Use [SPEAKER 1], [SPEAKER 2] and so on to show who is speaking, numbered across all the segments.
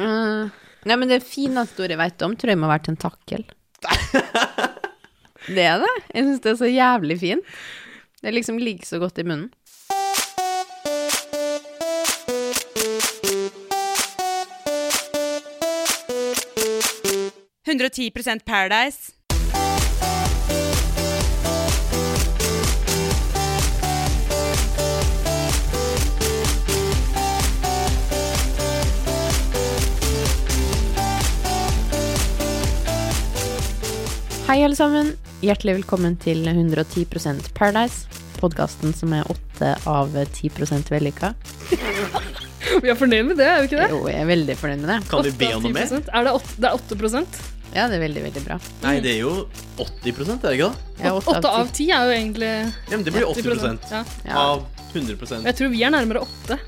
[SPEAKER 1] Mm. Nei, men det fineste ordet jeg vet om, tror jeg må være tentakel. det er det. Jeg syns det er så jævlig fint. Det liksom ligger så godt i munnen.
[SPEAKER 2] «110% Paradise».
[SPEAKER 1] Hei, alle sammen. Hjertelig velkommen til 110 Paradise. Podkasten som er åtte av 10 vellykka.
[SPEAKER 3] Vi er fornøyd med det, er vi ikke det?
[SPEAKER 1] Jo, jeg er veldig fornøyd med det.
[SPEAKER 4] Kan vi
[SPEAKER 3] Åtte
[SPEAKER 4] be
[SPEAKER 3] av
[SPEAKER 4] om noe mer?
[SPEAKER 3] 10%? Er det, åtte, det er 8 prosent.
[SPEAKER 1] Ja, det er veldig, veldig bra.
[SPEAKER 4] Nei, det er jo 80 er det ikke det?
[SPEAKER 1] Jeg er
[SPEAKER 3] Åtte av ti er jo egentlig
[SPEAKER 4] Ja, men det blir 80
[SPEAKER 3] 10%, Ja.
[SPEAKER 1] Ja.
[SPEAKER 4] av 100
[SPEAKER 3] Men jeg tror vi er nærmere åtte.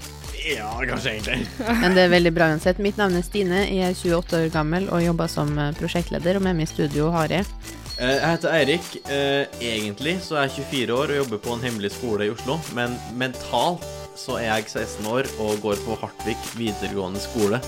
[SPEAKER 4] Ja, kanskje egentlig.
[SPEAKER 1] Men det er veldig bra uansett. Mitt navn er Stine, jeg er 28 år gammel og jobber som eh, prosjektleder, og med meg i studio har jeg
[SPEAKER 4] Eh, Jeg heter Eirik. Eh, Egentlig så er jeg 24 år og jobber på en hemmelig skole i Oslo. Men mentalt så er jeg 16 år og går på Hartvig videregående skole.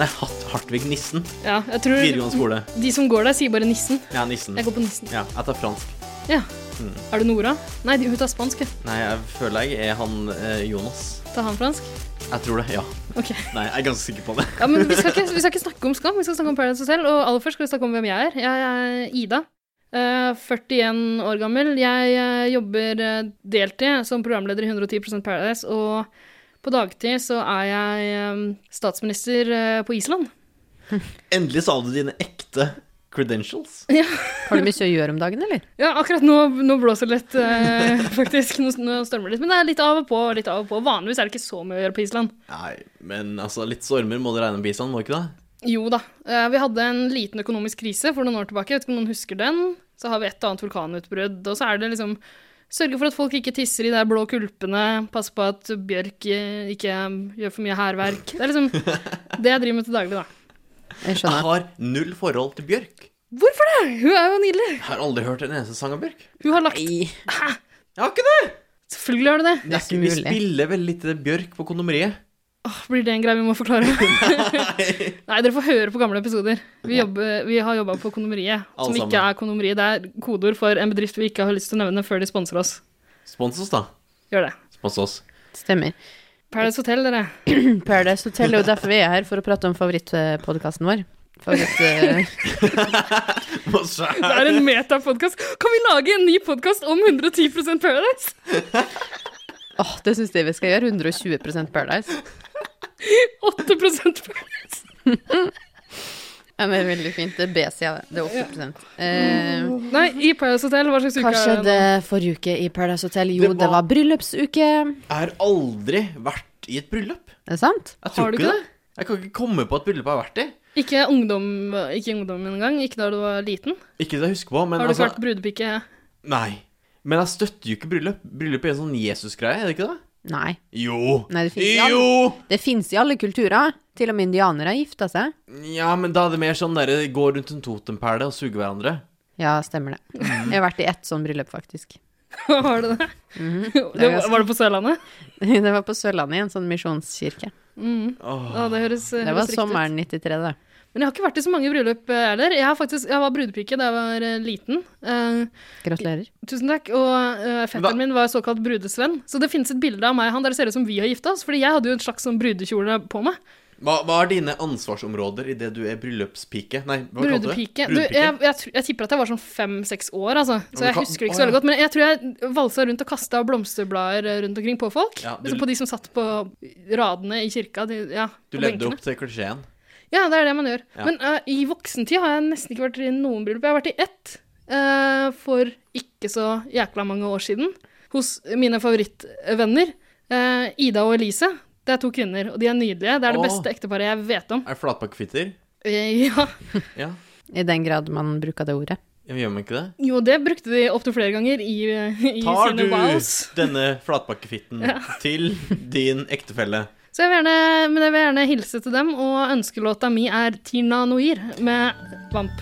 [SPEAKER 4] Nei, Hat- Hartvig Nissen
[SPEAKER 3] Ja, jeg tror
[SPEAKER 4] videregående skole.
[SPEAKER 3] De som går der, sier bare nissen.
[SPEAKER 4] Ja, Nissen.
[SPEAKER 3] Jeg går på nissen.
[SPEAKER 4] Ja, jeg tar fransk.
[SPEAKER 3] Ja.
[SPEAKER 4] Mm.
[SPEAKER 3] Er det Nora? Nei, de- hun tar spansk. ja.
[SPEAKER 4] Nei, jeg føler jeg er han eh, Jonas.
[SPEAKER 3] Tar han fransk?
[SPEAKER 4] Jeg tror det. Ja.
[SPEAKER 3] Ok.
[SPEAKER 4] Nei, jeg er ganske sikker på det.
[SPEAKER 3] Ja, men vi skal, ikke, vi skal ikke snakke om skam, vi skal snakke om Paradise Hotel. Og aller først skal vi snakke om hvem jeg er. Jeg er Ida. eh, 41 år gammel. Jeg eh, jobber eh, deltid som programleder i 110 Paradise. Og på dagtid så er jeg eh, statsminister eh, på Island.
[SPEAKER 4] Endelig sa du dine ekte credentials.
[SPEAKER 1] Har du mye å gjøre om dagen, eller?
[SPEAKER 3] Ja, akkurat nå, nå blåser det litt, eh, faktisk. Nå, nå stormer det litt. Men det er litt av og på. litt av og på. Vanligvis er det ikke så mye å gjøre på Island.
[SPEAKER 4] Nei, men altså, litt stormer må du regne med bistand, må du ikke det?
[SPEAKER 3] Jo da. Eh, Vi hadde en liten økonomisk krise for noen år tilbake. Jeg vet ikke om noen husker den. Så har vi et og annet vulkanutbrudd. Og så er det liksom Sørge for at folk ikke tisser i de der blå kulpene. Passe på at bjørk eh, ikke gjør for mye hærverk. Det er liksom det jeg driver med til daglig, da.
[SPEAKER 1] Jeg
[SPEAKER 4] Jeg
[SPEAKER 1] skjønner.
[SPEAKER 4] har null forhold til Bjørk.
[SPEAKER 3] Hvorfor det? Hun er jo nydelig.
[SPEAKER 4] Jeg har aldri hørt en eneste sang av Bjørk.
[SPEAKER 3] Hun har lagt
[SPEAKER 4] Jeg har ikke det!
[SPEAKER 3] Selvfølgelig har du det.
[SPEAKER 4] det er
[SPEAKER 1] så
[SPEAKER 4] ikke, vi
[SPEAKER 1] mulig.
[SPEAKER 4] spiller veldig lite Bjørk på kondomeriet.
[SPEAKER 3] Åh, blir det en greie vi må forklare? Nei, dere får høre på gamle episoder. Vi, jobber, vi har jobba på Kondomeriet, som
[SPEAKER 4] Alle sammen.
[SPEAKER 3] ikke er Kondomeriet. Det er kodeord for en bedrift vi ikke har lyst til å nevne før de sponser oss.
[SPEAKER 4] Spons oss, da.
[SPEAKER 3] Gjør det.
[SPEAKER 4] Spons oss.
[SPEAKER 1] Stemmer.
[SPEAKER 3] Paradise Hotel, dere.
[SPEAKER 1] Paradise Hotel, det er jo derfor vi er her, for å prate om favorittpodkasten vår. Favoritt, eh,
[SPEAKER 3] Det er en metapodkast. Kan vi lage en ny podkast om 110 Paradise?
[SPEAKER 1] Åh, det syns jeg vi skal gjøre. 120 Paradise.
[SPEAKER 3] 8 Paradise.
[SPEAKER 1] Ja, men det er veldig fint. Det er B-sida, det. Det er 80 eh,
[SPEAKER 3] Nei, i Paradise Hotel, hva slags uke
[SPEAKER 1] Hva
[SPEAKER 3] er
[SPEAKER 1] skjedde
[SPEAKER 3] det? nå?
[SPEAKER 1] forrige uke i Paradise Hotel? Jo, det var bryllupsuke.
[SPEAKER 4] Jeg har aldri vært i et bryllup.
[SPEAKER 1] Er det sant?
[SPEAKER 4] Jeg
[SPEAKER 3] Har
[SPEAKER 4] tror
[SPEAKER 3] du
[SPEAKER 4] ikke
[SPEAKER 3] ikke
[SPEAKER 4] det. Jeg kan ikke komme på et bryllup jeg har vært i.
[SPEAKER 3] Ikke ungdom, ikke ungdom engang. Ikke da du var liten.
[SPEAKER 4] Ikke det jeg husker på, men
[SPEAKER 3] Har du ikke
[SPEAKER 4] altså
[SPEAKER 3] vært brudepike?
[SPEAKER 4] Nei. Men jeg støtter jo ikke bryllup. Bryllup er en sånn Jesus-greie, er det ikke det?
[SPEAKER 1] Nei.
[SPEAKER 4] Jo.
[SPEAKER 1] Nei, det finnes ikke.
[SPEAKER 4] Jo!
[SPEAKER 1] Det fins i alle kulturer. Til og med indianere har gifta seg.
[SPEAKER 4] Ja, men da er det mer sånn dere går rundt en totempæle og suger hverandre.
[SPEAKER 1] Ja, stemmer det. Jeg har vært i ett sånn bryllup, faktisk.
[SPEAKER 3] Har du det?
[SPEAKER 1] Mhm. Det er
[SPEAKER 3] det var, var det på Sørlandet?
[SPEAKER 1] Det var på Sørlandet, i en sånn misjonskirke.
[SPEAKER 3] Mm.
[SPEAKER 4] Åh.
[SPEAKER 3] Ja, det høres,
[SPEAKER 1] Det
[SPEAKER 3] høres
[SPEAKER 1] var
[SPEAKER 3] riktig ut.
[SPEAKER 1] sommeren 93, det.
[SPEAKER 3] Men jeg har ikke vært i så mange bryllup eh, heller. Jeg, har faktisk, jeg var brudepike da jeg var eh, liten. Eh,
[SPEAKER 1] Gratulerer.
[SPEAKER 3] tusen takk. Og eh,
[SPEAKER 4] Hva?
[SPEAKER 3] fetteren min var såkalt brudesvenn. Så det finnes et bilde av meg og han der det ser ut som vi har gifta oss. Fordi jeg hadde jo en slags sånn brudekjole på meg.
[SPEAKER 4] Hva, hva er dine ansvarsområder idet du er bryllupspike? Nei, hva kalte du det?
[SPEAKER 3] Brudepike. Du, jeg, jeg, tr- jeg tipper at jeg var sånn fem-seks år, altså.
[SPEAKER 4] men
[SPEAKER 3] Så jeg
[SPEAKER 4] kan-
[SPEAKER 3] husker ikke
[SPEAKER 4] Å,
[SPEAKER 3] så veldig
[SPEAKER 4] ja.
[SPEAKER 3] godt. Men jeg tror jeg valsa rundt og kasta blomsterblader eh, rundt omkring på folk.
[SPEAKER 4] Ja, du-
[SPEAKER 3] liksom på de som satt på radene i kirka. De, ja,
[SPEAKER 4] Du
[SPEAKER 3] på
[SPEAKER 4] levde
[SPEAKER 3] benkene.
[SPEAKER 4] opp til klisjeen.
[SPEAKER 3] Ja, det er det man gjør.
[SPEAKER 4] Ja.
[SPEAKER 3] Men eh, i voksentid har jeg nesten ikke vært i noen bryllup. Jeg har vært i ett eh, for ikke så jækla mange år siden. Hos mine favorittvenner, eh, Ida og Elise. Det er to kvinner, og de er nydelige. Det er det
[SPEAKER 4] Åh.
[SPEAKER 3] beste ekteparet jeg vet om.
[SPEAKER 4] Er det flatpakkefitter?
[SPEAKER 3] Eh, ja.
[SPEAKER 4] Ja.
[SPEAKER 1] I den grad man bruker det ordet.
[SPEAKER 4] Ja, Gjør man ikke det?
[SPEAKER 3] Jo, det brukte de opptil flere ganger i, eh, i
[SPEAKER 4] Tar du
[SPEAKER 3] sine wows.
[SPEAKER 4] denne flatpakkefitten til din ektefelle?
[SPEAKER 3] Så jeg vil, gjerne, men jeg vil gjerne hilse til dem, og ønskelåta mi er Tina Noir med Vamp.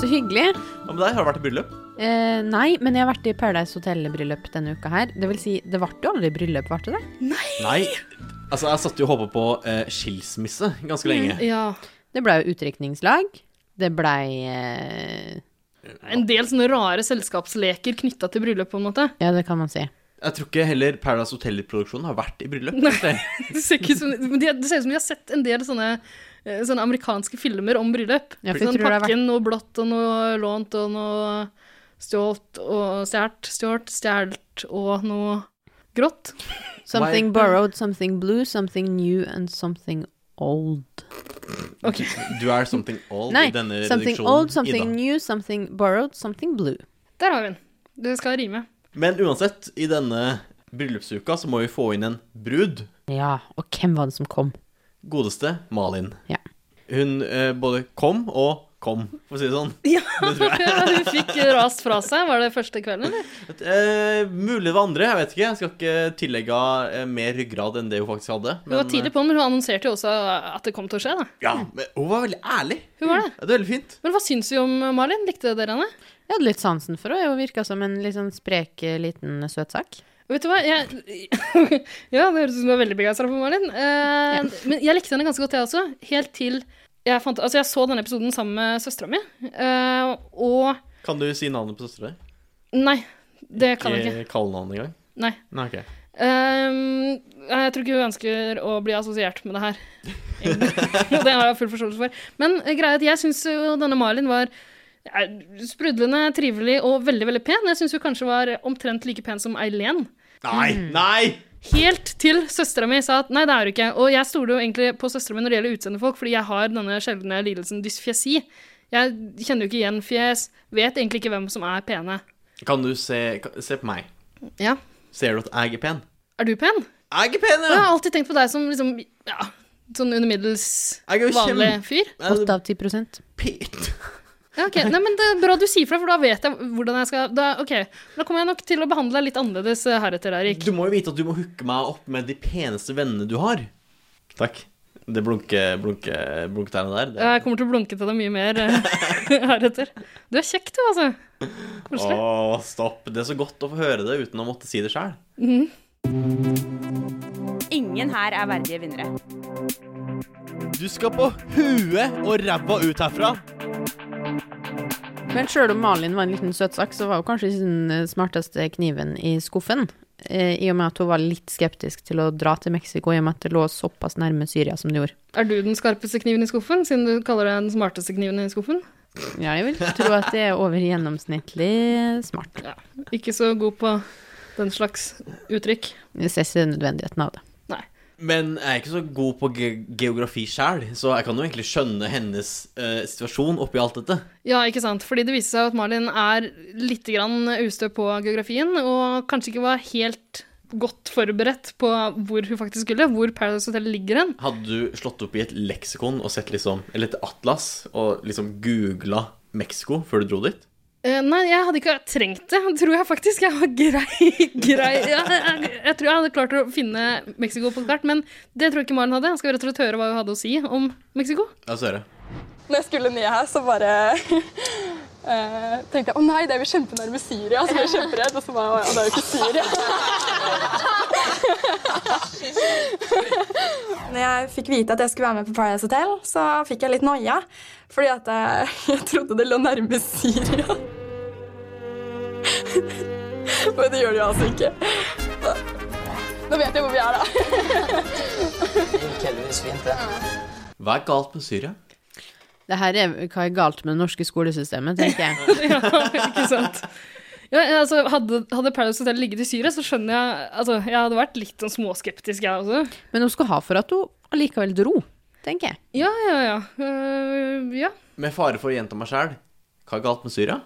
[SPEAKER 1] Så hyggelig.
[SPEAKER 4] Ja, men der har det vært i bryllup.
[SPEAKER 1] Eh, nei, men jeg har vært i Paradise Hotel-bryllup denne uka her. Det vil si, det ble jo aldri bryllup, ble det det?
[SPEAKER 4] Nei. Altså, jeg satt jo og håpa på eh, skilsmisse ganske lenge.
[SPEAKER 3] Ja.
[SPEAKER 1] Det blei jo utdrikningslag. Det blei eh,
[SPEAKER 3] En del sånne rare selskapsleker knytta til bryllup, på en måte.
[SPEAKER 1] Ja, det kan man si.
[SPEAKER 4] Jeg tror ikke heller Paradise Hotel-produksjonen har vært i bryllup. egentlig.
[SPEAKER 3] Det ser, ikke ut som, men de, det ser ut som de har sett en del sånne, eh, sånne amerikanske filmer om bryllup.
[SPEAKER 1] Ja, for jeg
[SPEAKER 3] sånn
[SPEAKER 1] tror det har vært-
[SPEAKER 3] pakken, noe blått og noe lånt og noe stjålt og stjålet, stjålet, stjålet og noe grått.
[SPEAKER 1] Something
[SPEAKER 4] Why-
[SPEAKER 1] borrowed, something blue, something new and something old.
[SPEAKER 3] Ok.
[SPEAKER 4] Du er something old
[SPEAKER 1] Nei,
[SPEAKER 4] i denne
[SPEAKER 1] something
[SPEAKER 4] reduksjonen,
[SPEAKER 1] old, something
[SPEAKER 4] Ida.
[SPEAKER 1] new, something borrowed, something blue.
[SPEAKER 3] Der har vi den. Det skal rime.
[SPEAKER 4] Men uansett, i denne bryllupsuka så må vi få inn en brud.
[SPEAKER 1] Ja, og hvem var det som kom?
[SPEAKER 4] Godeste Malin.
[SPEAKER 1] Ja.
[SPEAKER 4] Hun eh, både kom og kom, for å si det sånn.
[SPEAKER 3] Ja, hun fikk rast fra seg. Var det første kvelden, eller?
[SPEAKER 4] Eh, mulig det var andre, jeg vet ikke. Jeg skal ikke tillegge henne eh, mer ryggrad enn det hun faktisk hadde.
[SPEAKER 3] Hun var tidlig på, men hun annonserte jo også at det kom til å skje, da.
[SPEAKER 4] Ja, men hun var veldig ærlig.
[SPEAKER 3] Hun var det.
[SPEAKER 4] Ja, det er veldig fint.
[SPEAKER 3] Men hva syns vi om Malin? Likte dere henne?
[SPEAKER 1] Jeg hadde litt sansen for henne. Hun virka som en litt sånn sprek, eh, liten søtsak.
[SPEAKER 3] Vet du hva? Jeg... ja, det høres ut som du er veldig begeistra for Malin. Eh, men jeg likte henne ganske godt, jeg også. Helt til jeg fant Altså, jeg så denne episoden sammen med søstera mi, eh, og
[SPEAKER 4] Kan du si navnet på søstera di?
[SPEAKER 3] Nei, det kan jeg ikke.
[SPEAKER 4] Ikke kalle navnet engang?
[SPEAKER 3] Nei.
[SPEAKER 4] Nei, ok.
[SPEAKER 3] Ehm, jeg tror ikke hun ønsker å bli assosiert med det her. egentlig. Og det har jeg full forståelse for. Men eh, greia er at jeg syns jo denne Malin var eh, sprudlende, trivelig og veldig veldig pen. Jeg syns hun kanskje var omtrent like pen som Eileen.
[SPEAKER 4] Nei!
[SPEAKER 3] Mm.
[SPEAKER 4] Nei!
[SPEAKER 3] Helt til søstera mi sa at nei, det er du ikke. Og jeg stoler jo egentlig på søstera mi når det gjelder utseende folk, fordi jeg har denne sjeldne lidelsen dysfjesi. Jeg kjenner jo ikke igjen fjes, vet egentlig ikke hvem som er pene.
[SPEAKER 4] Kan du se kan- Se på meg.
[SPEAKER 3] Ja,
[SPEAKER 4] Ser du at jeg er pen?
[SPEAKER 3] er du pen?
[SPEAKER 4] Jeg er pen,
[SPEAKER 3] Og jeg
[SPEAKER 4] ja!
[SPEAKER 3] har alltid tenkt på deg som liksom, ja, sånn under middels
[SPEAKER 4] Jeg er jo
[SPEAKER 3] vanlig
[SPEAKER 4] kjempe...
[SPEAKER 3] fyr.
[SPEAKER 4] Jeg
[SPEAKER 1] Åtte
[SPEAKER 4] er
[SPEAKER 1] av ti prosent.
[SPEAKER 4] pen.
[SPEAKER 3] Ja, ok. Nei, men det er bra du sier fra, for da vet jeg hvordan jeg skal da, Ok, da kommer jeg nok til å behandle deg litt annerledes eh, heretter, Erik.
[SPEAKER 4] Du må jo vite at du må hooke meg opp med de peneste vennene du har. Takk. Det blunke, blunke, blunketegnet der.
[SPEAKER 3] Jeg kommer til å blunke til deg mye mer eh, heretter. Du er kjekk, du, altså.
[SPEAKER 4] Det.
[SPEAKER 3] Koselig.
[SPEAKER 4] Å, stopp. Det er så godt å få høre det uten å måtte si det sjøl.
[SPEAKER 2] Ingen her er verdige vinnere.
[SPEAKER 4] Du skal på huet og ræva ut herfra.
[SPEAKER 1] Men sjøl om Malin var en liten søtsak, så var hun kanskje ikke den eh, smarteste kniven i skuffen. Eh, I og med at hun var litt skeptisk til å dra til Mexico, i og med at det lå såpass nærme Syria som det gjorde.
[SPEAKER 3] Er du den skarpeste kniven i skuffen, siden du kaller deg den smarteste kniven i skuffen?
[SPEAKER 1] Ja, jeg vil tro at det er over gjennomsnittlig smart.
[SPEAKER 3] Ikke så god på den slags uttrykk.
[SPEAKER 1] Vi ses i nødvendigheten av det.
[SPEAKER 4] Men jeg er ikke så god på ge geografi sjøl, så jeg kan jo egentlig skjønne hennes eh, situasjon oppi alt dette.
[SPEAKER 3] Ja, ikke sant. Fordi det viste seg at Malin er litt grann ustø på geografien, og kanskje ikke var helt godt forberedt på hvor hun faktisk skulle, hvor Paradise Hotel ligger hen.
[SPEAKER 4] Hadde du slått opp i et leksikon og sett liksom Eller et atlas og liksom googla Mexico før du dro dit?
[SPEAKER 3] Eh, nei, jeg hadde ikke trengt det, tror jeg faktisk. Jeg var grei, grei. Ja, jeg, jeg tror jeg hadde klart å finne Mexico på et kart, men det tror jeg ikke Maren hadde. Jeg skal rett og slett høre hva hun hadde å si om Mexico.
[SPEAKER 4] La oss høre.
[SPEAKER 5] Når jeg skulle ned her, så bare eh, tenkte jeg å nei, det er jo kjempenærme Syria. Så ble jeg kjemperedd, og så bare å, det er jo ikke Syria. Når jeg fikk vite at jeg skulle være med på Paradise Hotel, så fikk jeg litt noia. Fordi at jeg, jeg trodde det lå nærme Syria. Men det gjør det jo altså ikke. Nå vet jeg hvor vi er, da.
[SPEAKER 6] Kelvis fint, det.
[SPEAKER 4] Hva er galt med Syria?
[SPEAKER 1] Det her er hva er galt med det norske skolesystemet, tenker jeg.
[SPEAKER 3] Ja, ikke sant. Ja, jeg- altså, hadde, hadde Paradise Hotel ligget i Syria, så skjønner jeg Altså, jeg hadde vært litt sånn småskeptisk, jeg også.
[SPEAKER 1] Men hun skal ha for at hun allikevel dro, tenker jeg.
[SPEAKER 3] Ja, ja, ja. Eh, ja.
[SPEAKER 4] Med fare for å gjenta meg sjæl, hva er galt med Syria?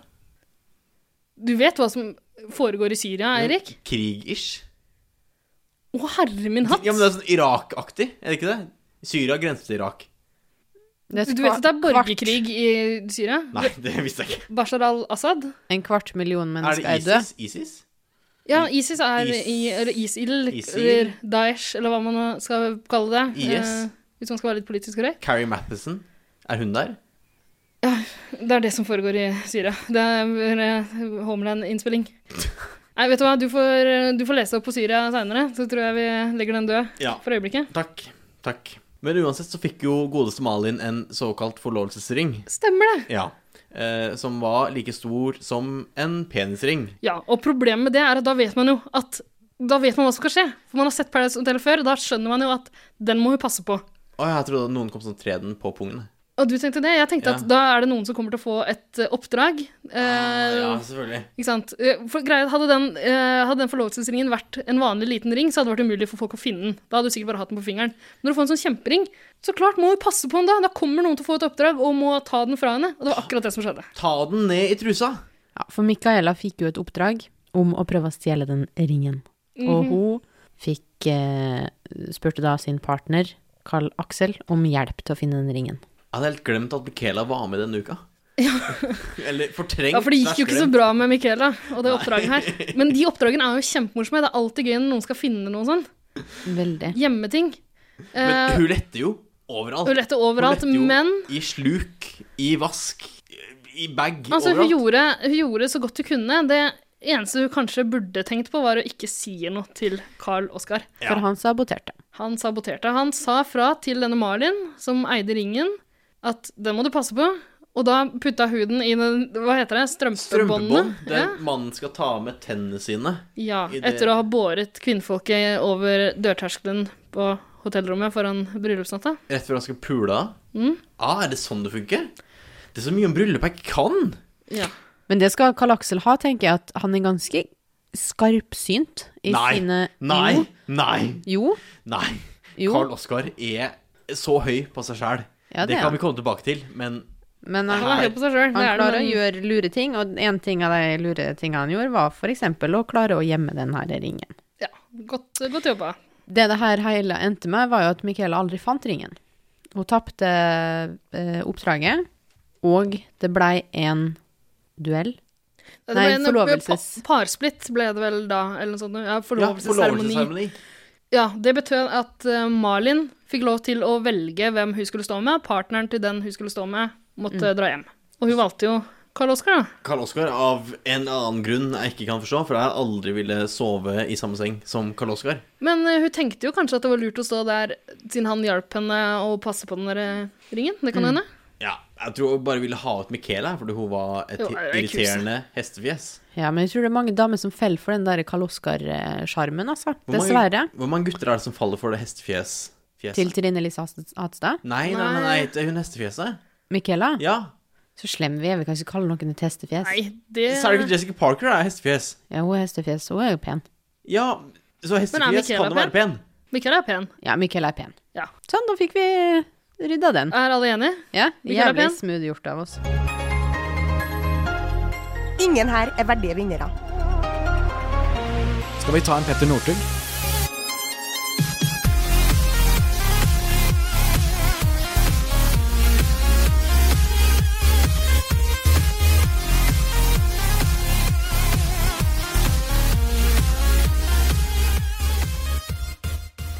[SPEAKER 3] Du vet hva som foregår i Syria, Eirik?
[SPEAKER 4] Krig-ish?
[SPEAKER 3] Å, herre min hatt!
[SPEAKER 4] Ja, men det er sånn Irak-aktig, er det ikke det? Syria grenser til Irak.
[SPEAKER 1] Det er
[SPEAKER 3] Du vet at det er
[SPEAKER 1] kvart-
[SPEAKER 3] borgerkrig i Syria?
[SPEAKER 4] Nei, det visste jeg ikke.
[SPEAKER 3] Bashar al-Assad?
[SPEAKER 1] En kvart million
[SPEAKER 4] Er
[SPEAKER 1] mennesker
[SPEAKER 4] det
[SPEAKER 1] er døde.
[SPEAKER 4] ISIS? ISIS?
[SPEAKER 3] Ja, ISIS er
[SPEAKER 4] Is-
[SPEAKER 3] i, eller ISIL,
[SPEAKER 4] ISIL.
[SPEAKER 3] eller Daesh, eller hva man nå skal kalle det.
[SPEAKER 4] IS.
[SPEAKER 3] eh, hvis man skal være litt politisk korrekt.
[SPEAKER 4] Carrie Mathisen? Er hun der?
[SPEAKER 3] Ja, det er det som foregår i Syria. Det er eh, Homeland-innspilling. Nei, vet du hva, du får, eh, du får lese opp på Syria seinere, så tror jeg vi legger den død
[SPEAKER 4] Ja.
[SPEAKER 3] for øyeblikket.
[SPEAKER 4] Takk. Takk. Men uansett så fikk jo godeste Malin en såkalt forlovelsesring.
[SPEAKER 3] Stemmer det.
[SPEAKER 4] Ja. Eh, som var like stor som en penisring.
[SPEAKER 3] Ja, og problemet med det er at da vet man jo at da vet man hva som skal skje. For man har sett Paradise Hotel før, og da skjønner man jo at den må hun passe på.
[SPEAKER 4] Å, jeg trodde at noen kom sånn tre den på pungen.
[SPEAKER 3] Og du tenkte det? Jeg tenkte
[SPEAKER 4] Ja. Ah,
[SPEAKER 3] at da er det noen som kommer til å få et eh, oppdrag. Eh,
[SPEAKER 4] ja, selvfølgelig.
[SPEAKER 3] Ikke sant? Eh, For greia, er at hadde den, eh, hadde den forlovelsesringen vært en vanlig liten ring, så hadde det vært umulig for folk å finne den. Da hadde du sikkert bare hatt den på fingeren. Men når du får en sånn kjempering, så klart må du passe på den da. Da kommer noen til å få et oppdrag og må ta den fra henne. Og det var akkurat det som skjedde.
[SPEAKER 4] Ta den ned i trusa!
[SPEAKER 1] Ja, for Micaela fikk jo et oppdrag om å prøve å stjele den ringen. Og hun fikk, eh, spurte da sin partner, Carl Aksel, om hjelp til å finne den ringen.
[SPEAKER 4] Jeg hadde helt glemt at Michaela var med denne uka. Eller fortrengt.
[SPEAKER 3] Ja, for det gikk jo
[SPEAKER 4] slash
[SPEAKER 3] ikke så
[SPEAKER 4] glemt.
[SPEAKER 3] bra med Michaela og det oppdraget her. Men de oppdragene er jo kjempemorsomme. Det er alltid gøy når noen skal finne noe sånn.
[SPEAKER 1] Veldig.
[SPEAKER 3] Hjemmeting.
[SPEAKER 4] Men
[SPEAKER 3] Eh,
[SPEAKER 4] hun lette jo overalt.
[SPEAKER 3] Hun lette overalt,
[SPEAKER 4] Hun lette jo
[SPEAKER 3] men
[SPEAKER 4] I sluk, i vask, i bag,
[SPEAKER 3] Altså, hun
[SPEAKER 4] overalt.
[SPEAKER 3] gjorde, hun gjorde så godt hun kunne. Det eneste hun kanskje burde tenkt på, var å ikke si noe til Carl Oskar.
[SPEAKER 1] For han saboterte.
[SPEAKER 3] Han saboterte. Han sa fra til denne Malin, som eide ringen, at den må du passe på. Og da putta hun den i den, hva heter det,
[SPEAKER 4] Strømpebånd.
[SPEAKER 3] strømpebåndet.
[SPEAKER 4] Der mannen skal ta med tennene sine.
[SPEAKER 3] Ja,
[SPEAKER 4] i det-
[SPEAKER 3] etter å ha båret kvinnfolket over dørterskelen på hotellrommet foran bryllupsnatta.
[SPEAKER 4] Rett før han skal pule av. Ah, er det sånn det funker? Det er så mye om bryllup jeg ikke kan!
[SPEAKER 3] Ja.
[SPEAKER 1] Men det skal Carl Aksel ha, tenker jeg, at han er ganske skarpsynt i
[SPEAKER 4] Nei.
[SPEAKER 1] sine
[SPEAKER 4] Nei!
[SPEAKER 1] Jo.
[SPEAKER 4] Nei!
[SPEAKER 1] Jo.
[SPEAKER 4] Nei!
[SPEAKER 1] Jo.
[SPEAKER 4] Carl Oskar er så høy på seg sjæl.
[SPEAKER 1] Ja,
[SPEAKER 4] det
[SPEAKER 1] det er
[SPEAKER 4] kan
[SPEAKER 1] han.
[SPEAKER 4] vi komme tilbake til, men
[SPEAKER 1] Men
[SPEAKER 3] Han er
[SPEAKER 1] han,
[SPEAKER 3] høy på seg sjøl.
[SPEAKER 1] han klarer å gjøre lure ting, og en ting av de lure tingene han gjorde, var for eksempel å klare å gjemme den her ringen.
[SPEAKER 3] Ja, godt, godt jobba.
[SPEAKER 1] Det det her hele endte med, var jo at Michaela aldri fant ringen. Hun tapte eh, oppdraget, og det blei en duell.
[SPEAKER 3] Det
[SPEAKER 1] Nei,
[SPEAKER 3] ble en-
[SPEAKER 1] forlovelses-
[SPEAKER 3] pa- Parsplitt ble det vel da, eller noe sånt. Ja,
[SPEAKER 4] ja,
[SPEAKER 3] forlovelsesseremoni. Ja,
[SPEAKER 4] Forlovelsesseremoni.
[SPEAKER 3] det betød at eh, Malin fikk lov til å velge hvem hun skulle stå med. Partneren til den hun skulle stå med, måtte dra hjem. Og hun valgte jo Karl Oskar, da.
[SPEAKER 4] Karl Oskar av en annen grunn jeg ikke kan forstå, for jeg aldri ville sove i samme seng som Karl Oskar.
[SPEAKER 3] Men eh, hun tenkte jo kanskje at det var lurt å stå der, siden han hjalp henne å passe på den der eh, ringen. Det kan hende.
[SPEAKER 4] Ja, jeg tror hun bare ville ha ut Michaela, fordi hun var et
[SPEAKER 3] Jo, jeg er ikke
[SPEAKER 4] irriterende hestefjes.
[SPEAKER 1] Ja, men jeg tror det er mange damer som faller for den der Karl Oskar-sjarmen, altså.
[SPEAKER 4] Hvor mange-
[SPEAKER 1] Dessverre.
[SPEAKER 4] Hvor mange gutter er det som faller for det hestefjes? fjeset?
[SPEAKER 1] Til Trine Lise Hast- Hatstad.
[SPEAKER 4] Nei, nei, nei, nei, det er hun hestefjeset.
[SPEAKER 1] Michaela,
[SPEAKER 4] Ja.
[SPEAKER 1] så slem vi er. Vi kan ikke kalle noen et hestefjes.
[SPEAKER 3] Nei, det
[SPEAKER 4] Sarah Jessica Parker er hestefjes.
[SPEAKER 1] Ja, hun er hestefjes, hun er jo pen.
[SPEAKER 4] Ja, så hestefjes
[SPEAKER 3] Michaela
[SPEAKER 4] kan jo være pen.
[SPEAKER 3] Michael er pen.
[SPEAKER 1] Ja, Michaela er pen.
[SPEAKER 3] Ja.
[SPEAKER 1] Sånn, da fikk vi rydda den.
[SPEAKER 3] Er alle enige?
[SPEAKER 1] Ja,
[SPEAKER 3] Michaela er
[SPEAKER 1] jævlig
[SPEAKER 3] pen.
[SPEAKER 1] smooth gjort av oss.
[SPEAKER 6] Ingen her er verdige vinnere.
[SPEAKER 7] Skal vi ta en Petter Northug?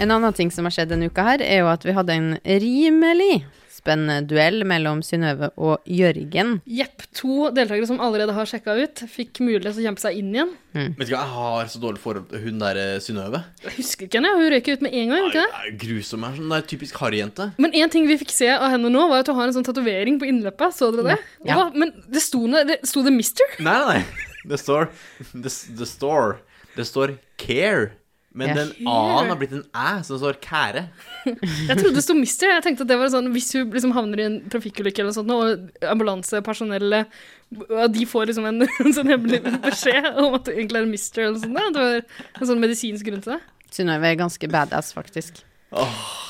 [SPEAKER 1] En annen ting som har skjedd denne uka her, er jo at vi hadde en rimelig spennende duell mellom Synnøve og Jørgen.
[SPEAKER 3] Jepp. To deltakere som allerede har sjekka ut, fikk mulighet til å kjempe seg inn igjen.
[SPEAKER 4] Vet du hva, jeg har så dårlig forhold til hun der eh, Synnøve.
[SPEAKER 3] Jeg husker ikke henne. Hun røyk ut med en gang. ikke det?
[SPEAKER 4] Jeg er Grusom er sånn der typisk harryjente.
[SPEAKER 3] Men en ting vi fikk se av henne nå, var at hun har en sånn tatovering på innløpet. Så dere det?
[SPEAKER 1] Ja.
[SPEAKER 3] Hva? Men det sto, noe- det sto det 'Mister'?
[SPEAKER 4] Nei, nei, nei. Det står Det, det står Det står care. Men
[SPEAKER 1] Ja.
[SPEAKER 4] den A-en har blitt en æ, så det står kære.
[SPEAKER 3] Jeg trodde det sto 'Mister'. Jeg tenkte at det var sånn, Hvis hun liksom havner i en trafikkulykke eller noe sånt, og ambulansepersonellet ja, De får liksom en, en sånn hemmelig beskjed om at det egentlig er en 'Mister' eller noe sånt. da. Det var en sånn medisinsk grunn til det.
[SPEAKER 1] Synnøve er ganske badass, faktisk.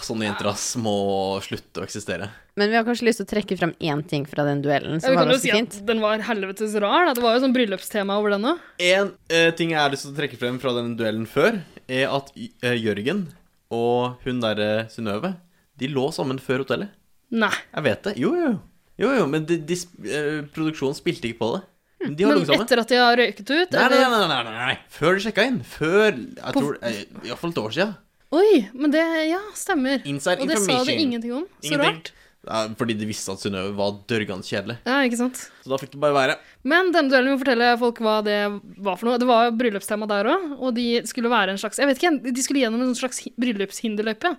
[SPEAKER 4] Sånne jenter ass må slutte å eksistere.
[SPEAKER 1] Men vi har kanskje lyst til å trekke fram én ting fra den duellen
[SPEAKER 3] Ja,
[SPEAKER 1] som
[SPEAKER 3] vi
[SPEAKER 1] var
[SPEAKER 3] kan jo si
[SPEAKER 1] ganske fint.
[SPEAKER 3] at den var helvetes rar. Da. Det var jo sånn bryllupstema over den òg.
[SPEAKER 4] En eh, ting jeg har lyst til å trekke frem fra den duellen før, er at Y- eh, Jørgen og hun derre Synnøve, de lå sammen før hotellet.
[SPEAKER 3] Nei.
[SPEAKER 4] Jeg vet det. Jo, jo. Jo, jo, men de, de, sp- eh, produksjonen spilte ikke på det. Men de har
[SPEAKER 3] Men
[SPEAKER 4] ligget sammen.
[SPEAKER 3] etter at de har røyket ut?
[SPEAKER 4] Nei, nei,
[SPEAKER 3] eller-
[SPEAKER 4] nei, nei, nei, nei. Før de sjekka inn. Før jeg tror, eh, Iallfall et år siden.
[SPEAKER 3] Oi, men det Ja, stemmer.
[SPEAKER 4] Inside
[SPEAKER 3] og det sa de
[SPEAKER 4] information.
[SPEAKER 3] ingenting om. Så rart.
[SPEAKER 4] Ingenting. Ja, Fordi de visste at Synnøve var dørgende kjedelig.
[SPEAKER 3] Ja, ikke sant?
[SPEAKER 4] Så da fikk det bare være.
[SPEAKER 3] Men denne duellen må fortelle folk hva det var for noe. Det var bryllupstema der òg, og de skulle være en slags Jeg vet ikke, de skulle gjennom en sånn slags hi- bryllupshinderløype.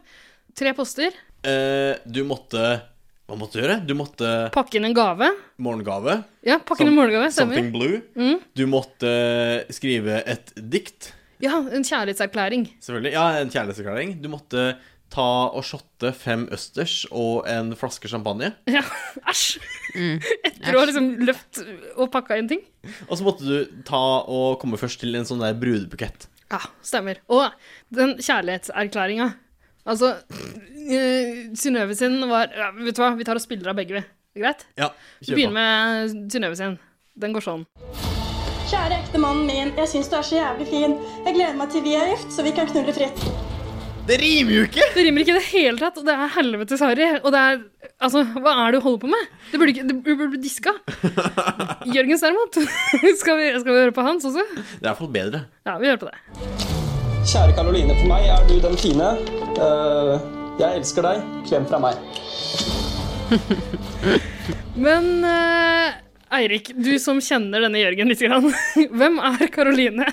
[SPEAKER 3] Tre poster,
[SPEAKER 4] Eh, du måtte Hva måtte du gjøre? Du måtte
[SPEAKER 3] pakke inn en gave.
[SPEAKER 4] morgengave.
[SPEAKER 3] Ja, pakke inn en
[SPEAKER 4] Som-
[SPEAKER 3] morgengave, stemmer. Mm.
[SPEAKER 4] Something blue. Du måtte skrive et dikt.
[SPEAKER 3] Ja, en kjærlighetserklæring.
[SPEAKER 4] Selvfølgelig. Ja, en kjærlighetserklæring. Du måtte ta og shotte fem østers og en flaske champagne.
[SPEAKER 3] Ja, æsj! Etter å ha liksom løpt og pakka inn ting.
[SPEAKER 4] Og så måtte du ta og komme først til en sånn der brudebukett.
[SPEAKER 3] Ja, stemmer. Og den kjærlighetserklæringa. Altså, uh, Synnøve sin var ja, Vet du hva, vi tar og spiller av begge, vi. Greit?
[SPEAKER 4] Ja,
[SPEAKER 3] Vi begynner med Synnøve sin. Den går sånn.
[SPEAKER 7] Kjære ektemannen min, jeg syns du er så jævlig fin. Jeg gleder meg til vi er gift, så vi kan knulle fritt.
[SPEAKER 4] Det rimer jo ikke!
[SPEAKER 3] Det rimer ikke i det hele tatt, og det er helvetes harry. Og det er Altså, hva er det du holder på med? Det burde ikke det burde bli diska. Jørgens derimot. skal, vi, skal vi høre på hans også?
[SPEAKER 4] Det er iallfall bedre.
[SPEAKER 3] Ja, vi hører på det.
[SPEAKER 8] Kjære Karoline, for meg er du den fine. Eh, jeg elsker deg. Klem fra meg.
[SPEAKER 3] Men eh, Eirik, du som kjenner denne Jørgen litt, grann. hvem er Karoline?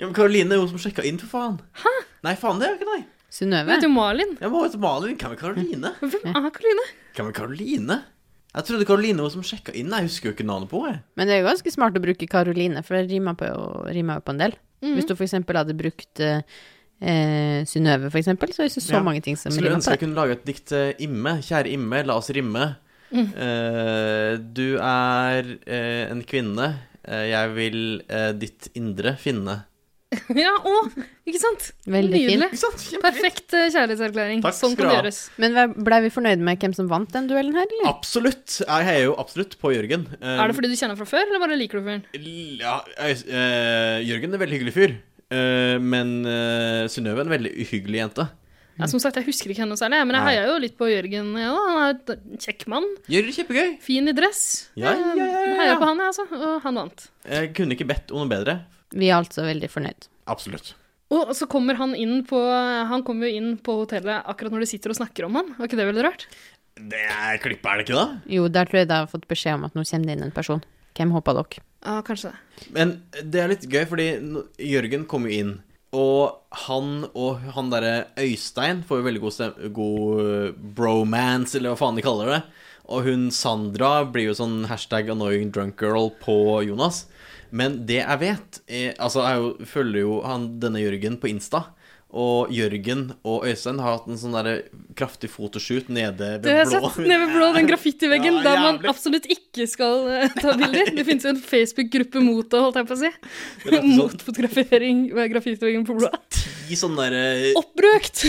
[SPEAKER 4] Ja, men Karoline er jo som sjekka inn, for faen. Hæ? Nei, faen, det er jo ikke deg.
[SPEAKER 3] Hun
[SPEAKER 1] Synnøve?
[SPEAKER 3] heter jo Malin.
[SPEAKER 4] Jeg må jo til Malin. Hvem er Karoline?
[SPEAKER 3] Men Hvem er Karoline?
[SPEAKER 4] Hvem er Karoline? Jeg trodde Karoline var som sjekka inn. Jeg husker jo ikke navnet på henne.
[SPEAKER 1] Men det er jo ganske smart å bruke Karoline, for det rimer på, rimer jo på en del.
[SPEAKER 3] Mhm.
[SPEAKER 1] Hvis du for eksempel hadde brukt eh, eh, Synnøve, for eksempel, så er det ikke så
[SPEAKER 4] Ja.
[SPEAKER 1] mange ting som
[SPEAKER 4] Skulle
[SPEAKER 1] rimer
[SPEAKER 4] ønske
[SPEAKER 1] på
[SPEAKER 4] jeg
[SPEAKER 1] det.
[SPEAKER 4] kunne lage et dikt til Imme. Kjære Imme, la oss rimme.
[SPEAKER 3] Mm.
[SPEAKER 4] Eh, du er eh, en kvinne. Eh, jeg vil eh, ditt indre finne.
[SPEAKER 3] Ja, å! Ikke sant?
[SPEAKER 1] Veldig fin.
[SPEAKER 3] Nydelig.
[SPEAKER 4] Ikke sant? Kjempefint.
[SPEAKER 3] Perfekt eh, kjærlighetserklæring.
[SPEAKER 4] Takk
[SPEAKER 3] sånn
[SPEAKER 4] skal
[SPEAKER 3] kan det
[SPEAKER 4] du ha.
[SPEAKER 3] gjøres.
[SPEAKER 1] Men hva- blei vi fornøyd med hvem som vant den duellen her, eller?
[SPEAKER 4] Absolutt. Jeg heier jo absolutt på Jørgen. Eh,
[SPEAKER 3] Mm. Er det fordi du kjenner ham fra før, eller bare liker du fyren?
[SPEAKER 4] l- ja, jeg- eh, Jørgen er en veldig hyggelig fyr. Eh, men uh, Synnøve er en veldig uhyggelig jente.
[SPEAKER 3] Ja, som sagt, jeg husker ikke henne noe særlig, men jeg
[SPEAKER 4] Nei.
[SPEAKER 3] heia jo litt på Jørgen. Ja, da. han er et kjekk mann.
[SPEAKER 4] Gjør det kjempegøy.
[SPEAKER 3] Fin i dress.
[SPEAKER 4] Ja, ja, ja, ja, ja.
[SPEAKER 3] Heia på han, jeg, altså. Og han vant.
[SPEAKER 4] Jeg kunne ikke bedt om noe bedre.
[SPEAKER 1] Vi er altså veldig fornøyd.
[SPEAKER 4] Absolutt.
[SPEAKER 3] Og så kommer han inn på Han kommer jo inn på hotellet akkurat når de sitter og snakker om han. Var ikke det veldig rart?
[SPEAKER 4] Det er klippet, er det ikke det?
[SPEAKER 1] Jo, der tror jeg de har fått beskjed om at nå kommer det inn en person. Hvem håper dere?
[SPEAKER 3] Ja, kanskje det.
[SPEAKER 4] Men det er litt gøy, fordi n- Jørgen kom jo inn. Og han og han derre Øystein får jo veldig god, stem god eh, bromance, eller hva faen de kaller det. Og hun Sandra blir jo sånn hashtag annoying drunk girl på Jonas. Men det jeg vet er, Altså, jeg jo, følger jo han, denne Jørgen på Insta. Og Jørgen og Øystein har hatt en sånn derre kraftig fotoshoot nede ved
[SPEAKER 3] Det har jeg
[SPEAKER 4] blå.
[SPEAKER 3] sett. Nede ved blå, den graffitiveggen
[SPEAKER 4] Ja,
[SPEAKER 3] der man
[SPEAKER 4] jævlig.
[SPEAKER 3] absolutt ikke skal eh, ta bilder. Det finnes jo en Facebook-gruppe mot det, holdt jeg på å si.
[SPEAKER 4] Det er sånn
[SPEAKER 3] Mot fotografering ved graffitiveggen på blå.
[SPEAKER 4] ti sånne sånn derre
[SPEAKER 3] Oppbrukt!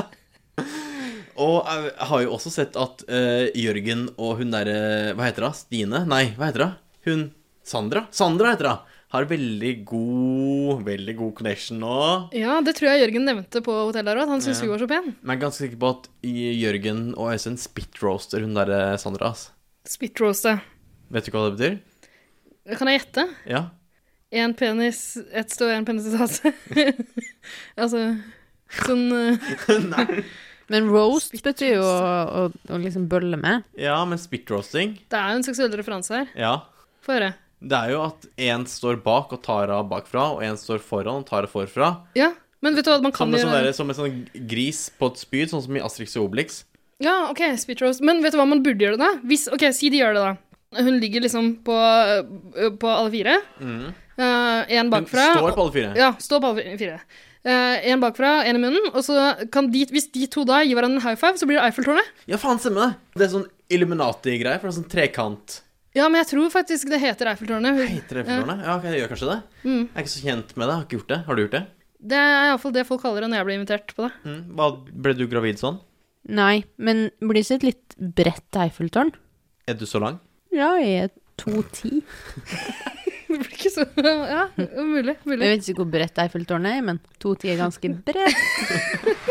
[SPEAKER 4] Og jeg har jo også sett at eh, Jørgen og hun derre Hva heter hun? Stine? Nei, hva heter hun? Hun Sandra? Sandra heter hun! Har veldig god Veldig god connection nå.
[SPEAKER 3] Ja, det tror jeg Jørgen nevnte på hotellet her òg, at han syntes hun var så pen.
[SPEAKER 4] Men jeg er ganske sikker på at Jørgen og Øystein spitroaster hun derre Sandra. ass.
[SPEAKER 3] Spitroaste.
[SPEAKER 4] Vet du ikke hva det betyr?
[SPEAKER 3] Kan jeg gjette?
[SPEAKER 4] Ja.
[SPEAKER 3] Én penis ett sted og én penis et annet sted. altså sånn eh,
[SPEAKER 1] Men roast betyr jo å, å, å liksom bølle med.
[SPEAKER 4] ja, men spitroasting
[SPEAKER 3] Det er jo en seksuell referanse her.
[SPEAKER 4] Ja.
[SPEAKER 3] Få høre.
[SPEAKER 4] Det er jo at én står bak og tar av bakfra, og én står foran og tar av forfra.
[SPEAKER 3] Ja, men vet du hva man kan
[SPEAKER 4] Som en, sånn
[SPEAKER 3] gjøre?
[SPEAKER 4] derre- som en sånn gris på et spyd, sånn som i Astrix og Obelix.
[SPEAKER 3] Ja, ok, speech roast. Men vet du hva man burde gjøre da? Hvis, ok, si de gjør det da. Hun ligger liksom på, øh, på alle fire. Eh, en
[SPEAKER 4] Hun
[SPEAKER 3] bakfra.
[SPEAKER 4] Mm. står på alle fire.
[SPEAKER 3] Ja, stå på alle fire. Eh, en bakfra, en i munnen. Og så kan de, hvis de to da gir hverandre en high five, så blir det Eiffeltårnet.
[SPEAKER 4] Ja, faen, stemmer det. Det er sånn Illuminati-greier, for det er sånn trekant.
[SPEAKER 3] Ja, men jeg tror faktisk det heter Eiffeltårnet.
[SPEAKER 4] Heter det Eiffeltårnet? Ja, ok, det gjør kanskje det.
[SPEAKER 3] Mm.
[SPEAKER 4] Jeg er ikke så kjent med det. Jeg har ikke gjort det. Har du gjort det?
[SPEAKER 3] Det er iallfall det folk kaller det når jeg blir invitert på det.
[SPEAKER 4] Mm. Hva, ble du gravid sånn?
[SPEAKER 1] Nei, men blir det ikke et litt bredt Eiffeltårn?
[SPEAKER 4] Er du så lang?
[SPEAKER 1] Ja, jeg er 2,10.
[SPEAKER 3] Det blir ikke så Ja, mulig. mulig.
[SPEAKER 1] Jeg vet ikke hvor bredt Eiffeltårnet er, men 2,10 er ganske bredt.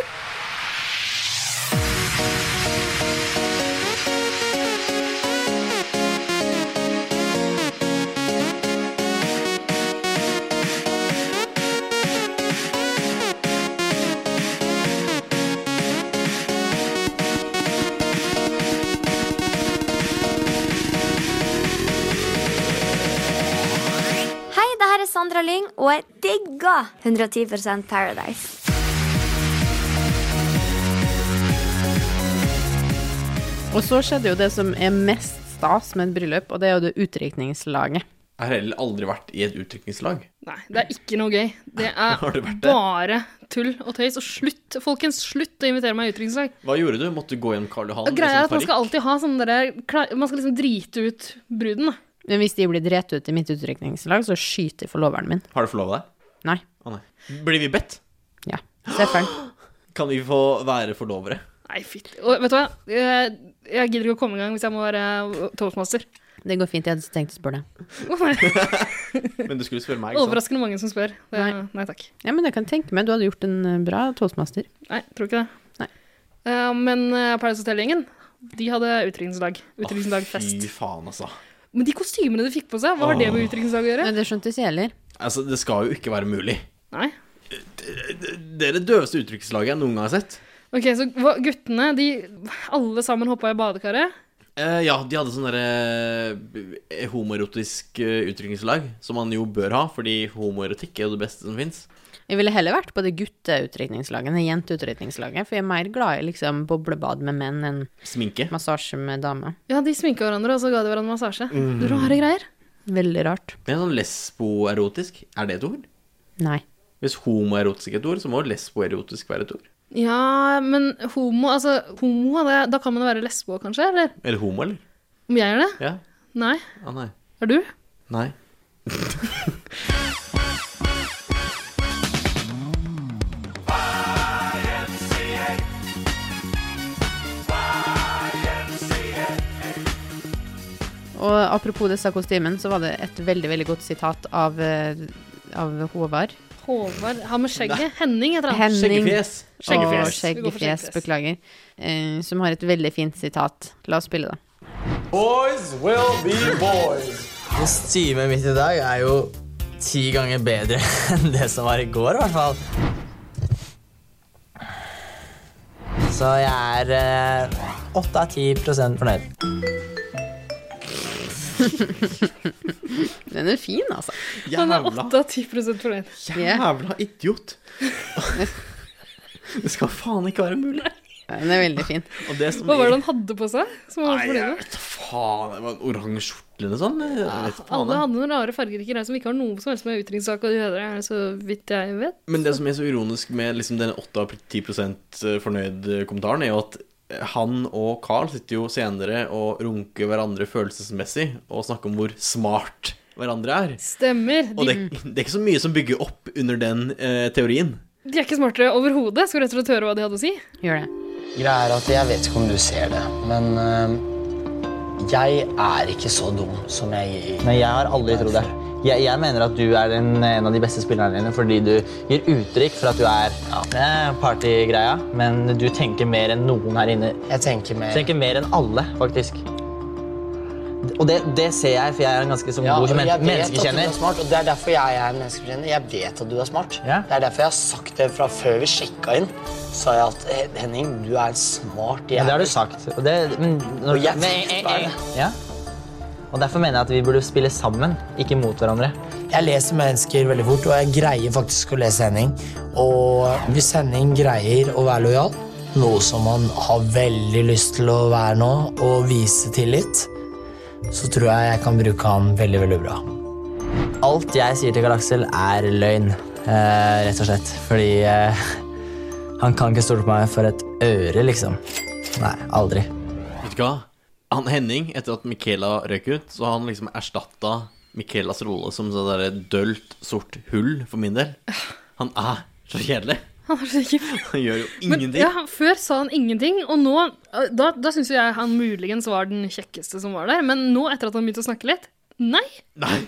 [SPEAKER 5] Sandra Lyng, og jeg digger 110 Paradise.
[SPEAKER 1] Og så skjedde jo det som er mest stas med et bryllup, og det er jo det utdrikningslaget.
[SPEAKER 4] Jeg har heller aldri vært i et utdrikningslag.
[SPEAKER 3] Nei, det er ikke noe gøy. Det
[SPEAKER 4] Har
[SPEAKER 3] er
[SPEAKER 4] det vært det?
[SPEAKER 3] bare tull og tøys. Og slutt, folkens, slutt å invitere meg i utdrikningslag.
[SPEAKER 4] Hva gjorde du? Måtte du gå gjennom Karl Johan?
[SPEAKER 3] Og Greia er
[SPEAKER 4] med sånn
[SPEAKER 3] at man skal
[SPEAKER 4] parykk?
[SPEAKER 3] alltid ha sånn derre kla- Man skal liksom drite ut bruden, da.
[SPEAKER 1] Men hvis de blir drept ut i mitt utdrikningslag, så skyter jeg forloveren min.
[SPEAKER 4] Har du forlova deg?
[SPEAKER 1] Nei.
[SPEAKER 4] Å nei. Blir vi bedt?
[SPEAKER 1] Ja. Steffer'n.
[SPEAKER 4] Kan vi få være forlovere?
[SPEAKER 3] Nei, fytti Og vet du hva? Jeg, jeg gidder ikke å komme i gang hvis jeg må være eh, toastmaster.
[SPEAKER 1] Det går fint, jeg hadde tenkt å spørre deg.
[SPEAKER 4] Men du skulle spørre meg, ikke sant?
[SPEAKER 3] Overraskende mange som spør. Det, nei.
[SPEAKER 1] Nei.
[SPEAKER 3] takk.
[SPEAKER 1] Ja, men jeg kan tenke meg, du hadde gjort en eh, bra toastmaster.
[SPEAKER 3] Nei, tror ikke det.
[SPEAKER 1] Nei.
[SPEAKER 3] Eh, men uh, Paradise Hotel-gjengen, de hadde utdrikningsdag. Utdrikningsdagfest.
[SPEAKER 4] Fy faen, altså.
[SPEAKER 3] Men de kostymene de fikk på seg, hva har det med utdrikningsdag å gjøre?
[SPEAKER 1] Nei, det skjønte ikke jeg heller.
[SPEAKER 4] Altså, det skal jo ikke være mulig.
[SPEAKER 3] Nei.
[SPEAKER 4] Det er det døveste utdrikningslaget jeg noen gang har sett.
[SPEAKER 3] Ok, så hva, guttene, de alle sammen hoppa i badekaret.
[SPEAKER 4] Eh, ja, de hadde sånn derre eh, homoerotisk eh, utdrikningslag, som man jo bør ha, fordi homoerotikk er jo det beste som fins.
[SPEAKER 1] Jeg ville heller vært på det gutteutdrikningslaget enn det jenteutdrikningslaget, for jeg er mer glad i liksom boblebad med menn enn
[SPEAKER 4] Sminke.
[SPEAKER 1] massasje med damer.
[SPEAKER 3] Ja, de sminka hverandre, og så ga de hverandre massasje.
[SPEAKER 4] Mm.
[SPEAKER 3] Rare greier.
[SPEAKER 1] Veldig rart.
[SPEAKER 4] Det er sånn lesboerotisk. Er det et ord?
[SPEAKER 1] Nei.
[SPEAKER 4] Hvis homoerotisk er et ord, så må lesboerotisk være et ord.
[SPEAKER 3] Ja, men homo altså, homo, det, Da kan man jo være lesbo, kanskje? Eller
[SPEAKER 4] Eller homo, eller?
[SPEAKER 3] om jeg er det?
[SPEAKER 4] Ja.
[SPEAKER 3] Nei.
[SPEAKER 4] Ah, nei.
[SPEAKER 3] Er du?
[SPEAKER 4] Nei.
[SPEAKER 1] Og apropos disse kostymene, så var det et veldig, veldig godt sitat av, eh, av Håvard.
[SPEAKER 3] Håvard Han med skjegget. Henning heter han.
[SPEAKER 1] Henning
[SPEAKER 4] Skjeggefjes.
[SPEAKER 1] og
[SPEAKER 3] Skjeggefjes. Vi går for
[SPEAKER 1] Skjeggefjes,
[SPEAKER 3] skjeggefjes.
[SPEAKER 1] beklager, eh, som har et veldig fint sitat. La oss spille det.
[SPEAKER 9] Boys will be boys.
[SPEAKER 10] Kostymet mitt i dag er jo ti ganger bedre enn det som var i går, i hvert fall. Så jeg er eh, åtte av ti prosent fornøyd.
[SPEAKER 1] Den er fin, altså.
[SPEAKER 3] Han er
[SPEAKER 4] Jævla,
[SPEAKER 3] 8 av 10 fornøyd.
[SPEAKER 4] jævla idiot. Det skal faen ikke være mulig.
[SPEAKER 1] Den er veldig fin.
[SPEAKER 4] Og det som
[SPEAKER 3] Hva var det han hadde på seg? Som han var
[SPEAKER 4] Nei,
[SPEAKER 3] fornøyd
[SPEAKER 4] jeg
[SPEAKER 3] med?
[SPEAKER 4] vet da faen. Det var en oransje skjorte eller noe sånt. Jeg vet faen,
[SPEAKER 3] Alle
[SPEAKER 4] jeg.
[SPEAKER 3] hadde noen rare fargerike greier som ikke har noe som helst med utdrikningssak å gjøre, er det så vidt jeg vet.
[SPEAKER 4] Men det som er så ironisk med liksom den 8-10 fornøyd-kommentaren, eh, er jo at eh, han og Carl sitter jo senere og runker hverandre følelsesmessig og snakker om hvor smart hverandre er.
[SPEAKER 3] Stemmer.
[SPEAKER 4] Og
[SPEAKER 3] De,
[SPEAKER 4] det, det er ikke så mye som bygger opp under den eh, teorien.
[SPEAKER 3] de er ikke smartere overhodet. Skal du rett og slett høre hva de hadde å si?
[SPEAKER 1] Gjør det.
[SPEAKER 10] Greia er at jeg vet ikke om du ser det, men eh, jeg er ikke så dum som jeg Nei, jeg har aldri trodd det. Jeg, mener at du er en, av de beste spillerne dine fordi du gir uttrykk for at du er ja, det er partygreia, men du tenker mer enn noen her inne. Jeg tenker mer, enn alle, faktisk. Og det, ser jeg, for jeg er en ganske så god menneskekjenner. Jeg vet at du er smart, og Det er derfor jeg er en menneskekjenner. Jeg vet at du er smart. Det er derfor jeg har sagt det fra før vi sjekka inn. Sa jeg at "Hen- Henning, du er en smart jævel. Det har du sagt. Og, jeg vet hva det. er. Og Derfor mener jeg at vi burde spille sammen, ikke mot hverandre. Jeg leser mennesker veldig fort, og jeg greier faktisk å lese Henning. Og hvis Henning greier å være lojal, noe som han har veldig lyst til å være nå, og vise tillit, så tror jeg jeg kan bruke han veldig, veldig bra. Alt jeg sier til Galaxel, er løgn, eh, rett og slett. Fordi eh, han kan ikke stole på meg for et øre, liksom. Nei, aldri.
[SPEAKER 4] Vet du hva? Han Henning, etter at Michaela røk ut, så har han liksom erstatta Michaelas rolle som sånn derre dølt, sort hull, for min del. Han er så kjedelig.
[SPEAKER 3] Han er så kjip.
[SPEAKER 4] Han gjør jo
[SPEAKER 3] Men,
[SPEAKER 4] ingenting.
[SPEAKER 3] ja, før sa han ingenting, og nå eh, Da, da syns jo jeg han muligens var den kjekkeste som var der, men nå, etter at han begynte å snakke litt Nei!
[SPEAKER 4] Nei.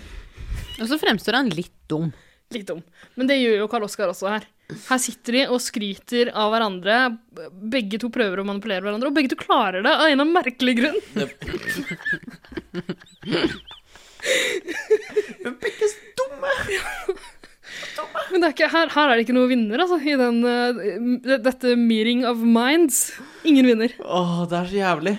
[SPEAKER 1] Og så fremstår han litt dum.
[SPEAKER 3] Litt dum. Men det gjør jo Karl Oskar også her. Her sitter de og skryter av hverandre. Begge to prøver å manipulere hverandre, og begge to klarer det av en eller annen merkelig grunn. Men det er ikke, her, her er det ikke noe vinner, altså, i den, eh, dette meeting of minds. Ingen vinner.
[SPEAKER 4] Åh, sånn, det er så jævlig.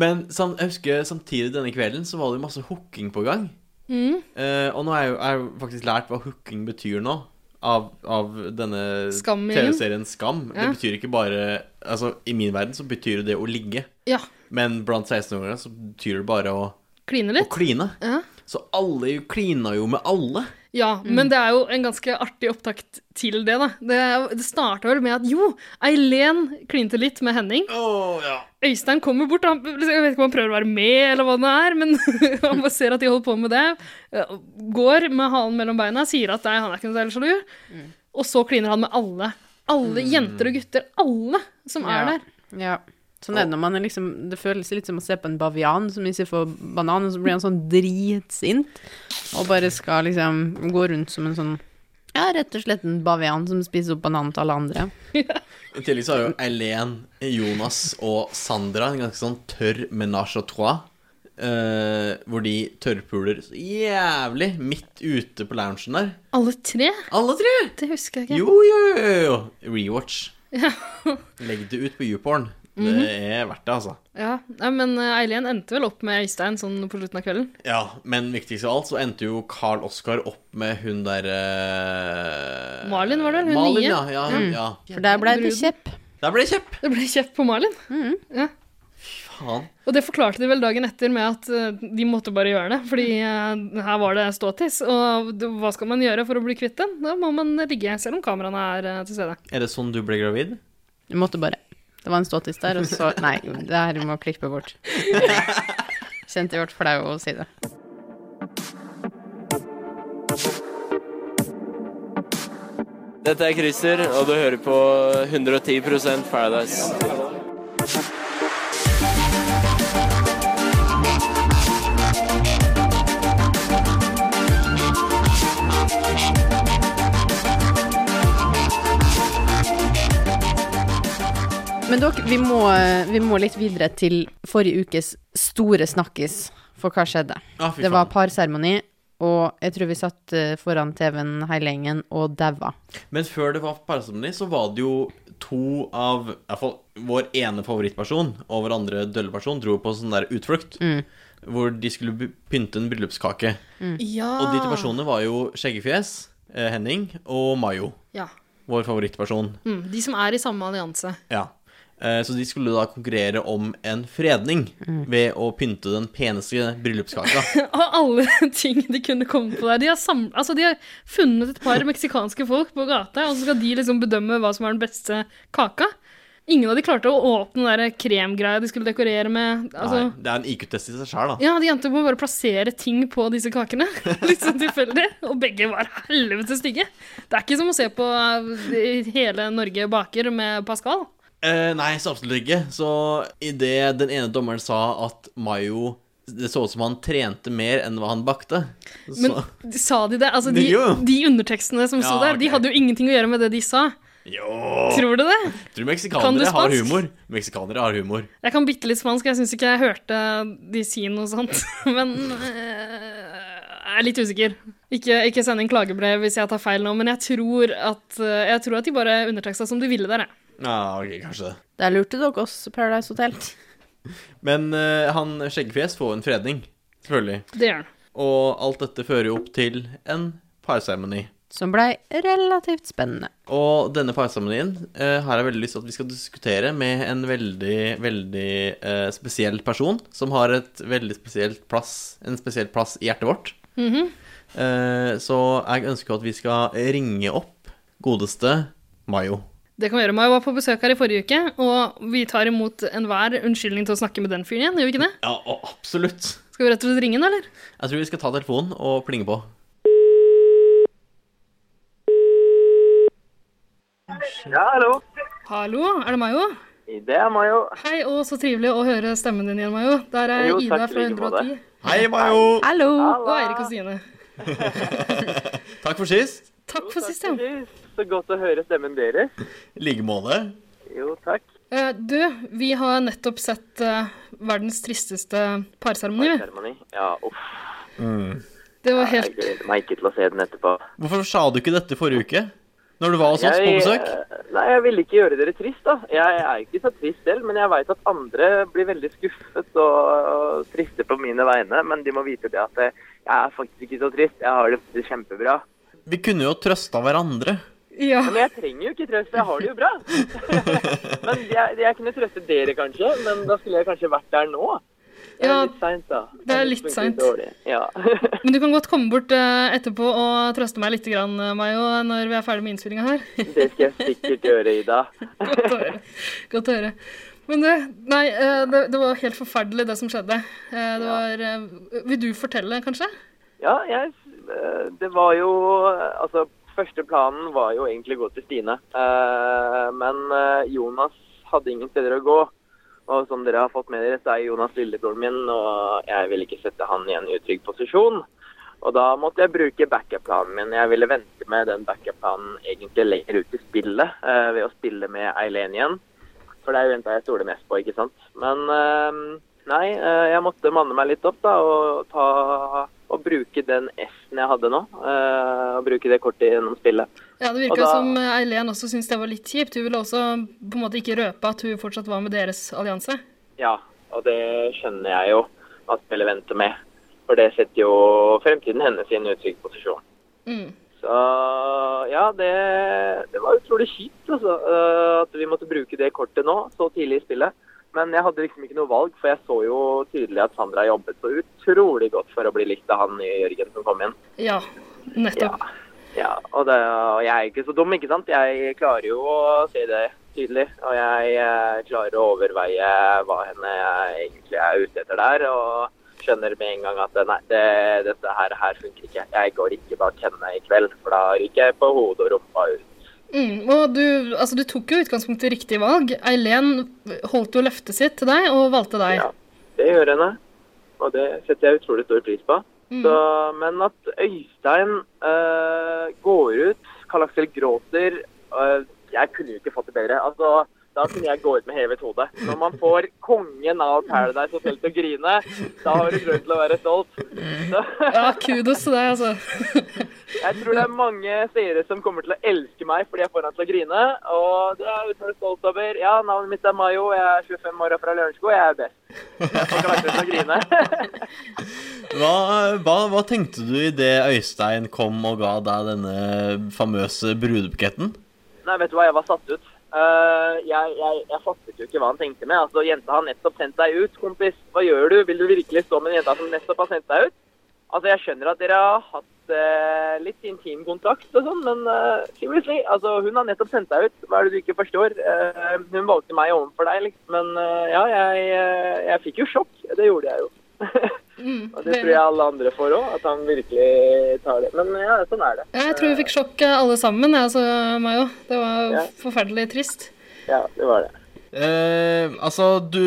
[SPEAKER 4] Men sam jeg husker samtidig denne kvelden så var det masse hooking på gang.
[SPEAKER 3] Mm.
[SPEAKER 4] Eh, og nå har jeg, jo- jeg har jo faktisk lært hva hooking betyr nå, av, av denne
[SPEAKER 3] Skamgjengen.
[SPEAKER 4] TV-serien Skam.
[SPEAKER 3] Ja.
[SPEAKER 4] Det betyr ikke bare Altså, i min verden så betyr jo det å ligge,
[SPEAKER 3] Ja.
[SPEAKER 4] men blant 16-åringer så betyr det bare å,
[SPEAKER 3] Kline
[SPEAKER 4] å
[SPEAKER 3] litt.
[SPEAKER 4] kline.
[SPEAKER 3] Ja.
[SPEAKER 4] Så alle jo klina jo med alle.
[SPEAKER 3] Ja,
[SPEAKER 4] Mm.
[SPEAKER 3] men det er jo en ganske artig opptakt til det, da. Det, er- det starta vel med at jo, Eileen klinte litt med Henning.
[SPEAKER 4] Oh, ja.
[SPEAKER 3] Øystein kommer bort, han, liksom, jeg vet ikke om han prøver å være med, eller hva det er, men han bare ser at de holder på med det. eh, Går med halen mellom beina, sier at nei, han er ikke noe særlig sjalu.
[SPEAKER 4] Mm.
[SPEAKER 3] Og så kliner han med alle. Alle jenter og gutter. Alle som er
[SPEAKER 1] Ja.
[SPEAKER 3] der.
[SPEAKER 1] Ja. Sånn er det når man er liksom Det føles litt som å se på en bavian som ikke får banan, og så blir han sånn dritsint og bare skal liksom gå rundt som en sånn Ja, rett og slett en bavian som spiser opp bananen til alle andre.
[SPEAKER 4] I tillegg så har jo Eileen, Jonas og Sandra en ganske sånn tørr menage à trois. eh, hvor de tørrpuler så jævlig midt ute på loungen der.
[SPEAKER 3] Alle tre?
[SPEAKER 4] Alle tre!
[SPEAKER 3] Det husker jeg ikke.
[SPEAKER 4] Jo, jo, jo, jo. Rewatch. Legg det ut på YouPorn.
[SPEAKER 3] Mhm.
[SPEAKER 4] Det er verdt det, altså.
[SPEAKER 3] Ja, nei, Men eh, Eileen endte vel opp med Øystein sånn på slutten av kvelden.
[SPEAKER 4] Ja, Men viktigst av alt så endte jo Carl Oskar opp med hun derre
[SPEAKER 3] Malin var det vel? Hun
[SPEAKER 4] Malin,
[SPEAKER 3] nye? Mm.
[SPEAKER 4] ja. ja, hun, ja.
[SPEAKER 1] For der ble det
[SPEAKER 3] Bruden.
[SPEAKER 1] kjepp.
[SPEAKER 4] Der ble det kjepp!
[SPEAKER 3] Det ble kjepp på Malin.
[SPEAKER 4] Faen.
[SPEAKER 3] Og det forklarte de vel dagen etter med at eh, de måtte bare gjøre det, fordi eh, her var det ståtiss. Og det- hva skal man gjøre for å bli kvitt den? Da må man ligge, selv om kameraene er eh, til stede.
[SPEAKER 4] Er det sånn du ble gravid?
[SPEAKER 1] Du måtte bare Det var en ståtiss der, og så Nei, det her må klippe bort. Kjente jeg ble flau å si det.
[SPEAKER 11] Dette er Christer, og du hører på 110 Paradise.
[SPEAKER 1] Men dere, vi må, vi må litt videre til forrige ukes store snakkis for hva skjedde.
[SPEAKER 4] Ah, fy
[SPEAKER 1] Det var
[SPEAKER 4] faen.
[SPEAKER 1] parseremoni, og jeg tror vi satt eh, foran TV-en hele gjengen og daua.
[SPEAKER 4] Men før det var parseremoni, så var det jo to av i hvert fall vår ene favorittperson og vår andre dølle person dro på sånn der utflukt. Hvor de skulle by- pynte en bryllupskake.
[SPEAKER 3] Ja.
[SPEAKER 4] Og de to personene var jo Skjeggefjes, eh, Henning og Mayo.
[SPEAKER 3] Ja.
[SPEAKER 4] Vår favorittperson.
[SPEAKER 3] Mm, de som er i samme allianse.
[SPEAKER 4] Ja. Eh, Så de skulle da konkurrere om en fredning ved å pynte den peneste bryllupskaka.
[SPEAKER 3] Av alle ting de kunne komme på der. De har, sam- altså, de har funnet et par meksikanske folk på gata, og så skal de liksom bedømme hva som er den beste kaka. Ingen av de klarte å åpne den der kremgreia de skulle dekorere med. Altså,
[SPEAKER 4] Nei, det er en IQ-test i seg sjøl, da.
[SPEAKER 3] ja, De endte opp med å bare plassere ting på disse kakene. Litt sånn tilfeldig. Og begge var helvete stygge. Det er ikke som å se på eh, hele Norge baker med Pascal.
[SPEAKER 4] Eh, nei, så absolutt ikke. Så idet den ene dommeren sa at Mayo Det så ut som han trente mer enn hva han bakte. Så
[SPEAKER 3] Men sa de det? Altså, de,
[SPEAKER 4] Det gjorde de.
[SPEAKER 3] de undertekstene som sto
[SPEAKER 4] Ja,
[SPEAKER 3] der, de
[SPEAKER 4] ok.
[SPEAKER 3] hadde jo ingenting å gjøre med det de sa.
[SPEAKER 4] Jo!
[SPEAKER 3] Tror du det? Kan
[SPEAKER 4] Tror
[SPEAKER 3] du
[SPEAKER 4] meksikanere har
[SPEAKER 3] spansk?
[SPEAKER 4] humor. Meksikanere har humor.
[SPEAKER 3] Jeg kan bitte litt spansk, jeg syns ikke jeg hørte de si noe sånt. Men eh, jeg er litt usikker. Ikke, ikke send inn klagebrev hvis jeg tar feil nå, men jeg tror at, eh, jeg tror at de bare underteksta som de ville der, jeg.
[SPEAKER 4] Ja, ok, kanskje det.
[SPEAKER 1] Der lurte dere oss, Paradise Hotel.
[SPEAKER 4] Men eh, han Skjeggefjes får en fredning, selvfølgelig.
[SPEAKER 3] Det gjør han.
[SPEAKER 4] Og alt dette fører jo opp til en parseremoni.
[SPEAKER 1] Som blei relativt spennende.
[SPEAKER 4] Og denne parseremonien eh, har jeg veldig lyst til at vi skal diskutere med en veldig, veldig eh, spesiell person, som har et veldig spesielt plass, en spesiell plass i hjertet vårt.
[SPEAKER 3] Mhm.
[SPEAKER 4] eh, så jeg ønsker at vi skal ringe opp godeste Mayo.
[SPEAKER 3] Det kan vi gjøre. Mai var på besøk her i forrige uke, og vi tar imot enhver unnskyldning til å snakke med den fyren igjen, gjør vi ikke det?
[SPEAKER 4] Ja, å, absolutt.
[SPEAKER 3] Skal vi rett og slett ringe han, eller?
[SPEAKER 4] Jeg tror vi skal ta telefonen og plinge på.
[SPEAKER 10] Ja, hallo.
[SPEAKER 3] Hallo, er det Mayo?
[SPEAKER 10] Det er Mayo.
[SPEAKER 3] Hei, og så trivelig å høre stemmen din igjen, Mayo. Der er
[SPEAKER 10] Jo, takk
[SPEAKER 3] Ida
[SPEAKER 10] i
[SPEAKER 3] fra
[SPEAKER 10] like måte.
[SPEAKER 3] 110.
[SPEAKER 4] Hei, Mayo!
[SPEAKER 1] Hallo!
[SPEAKER 3] Og Eirik og Stine.
[SPEAKER 4] Takk for sist.
[SPEAKER 3] Takk for sist, ja.
[SPEAKER 10] Så godt å høre stemmen deres.
[SPEAKER 4] I like måte.
[SPEAKER 10] Jo, takk.
[SPEAKER 3] Eh, du, vi har nettopp sett eh, verdens tristeste parseremoni. vi.
[SPEAKER 10] Seremoni. Ja, uff.
[SPEAKER 3] Det var
[SPEAKER 10] Jeg
[SPEAKER 3] helt
[SPEAKER 10] gleder meg ikke til å se den etterpå.
[SPEAKER 4] Hvorfor sa du ikke dette forrige uke? Når du var hos oss på
[SPEAKER 10] Jeg-
[SPEAKER 4] besøk?
[SPEAKER 10] Nei, jeg ville ikke gjøre dere trist, da. Jeg er ikke så trist selv, men jeg veit at andre blir veldig skuffet og, og triste på mine vegne. Men de må vite det at eh, jeg er faktisk ikke så trist. Jeg har det faktisk kjempebra.
[SPEAKER 4] Vi kunne jo trøsta hverandre.
[SPEAKER 10] Men jeg trenger jo ikke trøst, jeg har det jo bra. men jeg, jeg kunne trøste dere kanskje, men da skulle jeg kanskje vært der nå. Det er
[SPEAKER 3] Ja,
[SPEAKER 10] litt seint, da.
[SPEAKER 3] det er
[SPEAKER 10] Det
[SPEAKER 3] litt
[SPEAKER 10] funket
[SPEAKER 3] seint.
[SPEAKER 10] dårlig. Ja.
[SPEAKER 3] Men du kan godt komme bort eh, etterpå og trøste meg litt, grann, eh, Mayo, når vi er ferdig med innspillinga her.
[SPEAKER 10] Det skal jeg sikkert gjøre, Ida.
[SPEAKER 3] Godt å høre. Men det, nei, eh, det, det var helt forferdelig, det som skjedde. Eh, Det var eh, Vil du fortelle, kanskje?
[SPEAKER 10] Ja, jeg, eh, det var jo Altså, første planen var jo egentlig å gå til Stine. Eh, Men eh, Jonas hadde ingen steder å gå. Og som dere har fått med dere, så er Jonas lillebroren min, og jeg ville ikke sette han i en utrygg posisjon. Og da måtte jeg bruke backup-planen min. Jeg ville vente med den backup-planen egentlig lenger ut i spillet, eh, ved å spille med Eileen igjen. For det er jo jenta jeg stoler mest på, ikke sant. Men eh, nei, eh, jeg måtte manne meg litt opp, da, og ta og bruke den S-en jeg hadde nå. eh, og bruke det kortet gjennom spillet.
[SPEAKER 3] Ja, Det
[SPEAKER 10] Og
[SPEAKER 3] virka
[SPEAKER 10] da-
[SPEAKER 3] som eh, Eileen også syntes det var litt kjipt. Hun ville også på en måte ikke røpe at hun fortsatt var med deres allianse.
[SPEAKER 10] Ja, og det skjønner jeg jo at spillet venter med. For det setter jo fremtiden hennes i en utrygg posisjon.
[SPEAKER 3] Mm.
[SPEAKER 10] Så ja, det, det var utrolig kjipt altså, eh, at vi måtte bruke det kortet nå, så tidlig i spillet. Men jeg hadde liksom ikke noe valg, for jeg så jo tydelig at Sandra jobbet så utrolig godt for å bli likt av han nye Jørgen som kom inn.
[SPEAKER 3] Ja, nettopp.
[SPEAKER 10] Ja, og, det, og jeg er ikke så dum, ikke sant? Jeg klarer jo å se det tydelig. Og jeg eh, klarer å overveie hva henne jeg egentlig er ute etter der. Og skjønner med en gang at nei, det, dette her, her funker ikke. Jeg går ikke bak henne i kveld, for da ryker jeg på hodet og rumpa ut.
[SPEAKER 3] Mm, og du, altså, du tok jo utgangspunktet riktig valg. Eileen holdt jo løftet sitt til deg og valgte deg.
[SPEAKER 10] Det gjør henne, og det setter jeg utrolig stor pris på.
[SPEAKER 3] Mm.
[SPEAKER 10] Så, men at Øystein eh, går ut, Karl Aksel gråter eh, Jeg kunne jo ikke fått det bedre. Altså, da kunne jeg gå ut med hevet hode. Når man får kongen av Paradise Hotel til å grine, da har du grunn til å være stolt. Så,
[SPEAKER 3] Ja, kudos til deg, altså.
[SPEAKER 10] jeg tror det er mange seere som kommer til å elske meg fordi jeg får han til å grine. Og det er jeg utrolig stolt over. Ja, navnet mitt er Mayo, jeg er 25 år og fra Lørenskog, jeg er best. Jeg får Karl Aksel til å grine.
[SPEAKER 4] Hva, hva, hva tenkte du idet Øystein kom og ga deg denne famøse brudebuketten?
[SPEAKER 10] Nei, vet du hva, jeg var satt ut. Eh, jeg, jeg, jeg fattet jo ikke hva han tenkte med. Altså, Jenta har nettopp sendt deg ut, kompis. Hva gjør du? Vil du virkelig stå med en jenta som nettopp har sendt deg ut? Altså, Jeg skjønner at dere har hatt eh, litt intim kontakt og sånn, men eh, seriously, altså, hun har nettopp sendt deg ut. Hva er det du ikke forstår? Eh, hun valgte meg overfor deg, liksom. Men eh, ja, jeg, eh, jeg fikk jo sjokk. Det gjorde jeg jo.
[SPEAKER 3] Mm,
[SPEAKER 10] Og det tror jeg alle andre får òg, at han virkelig tar det. Men ja, sånn er det.
[SPEAKER 3] Ja, jeg tror vi fikk sjokk eh, alle sammen, jeg, altså, Mayo. Det var
[SPEAKER 10] Ja.
[SPEAKER 3] forferdelig trist.
[SPEAKER 10] Ja, det var det.
[SPEAKER 4] Eh, altså, du,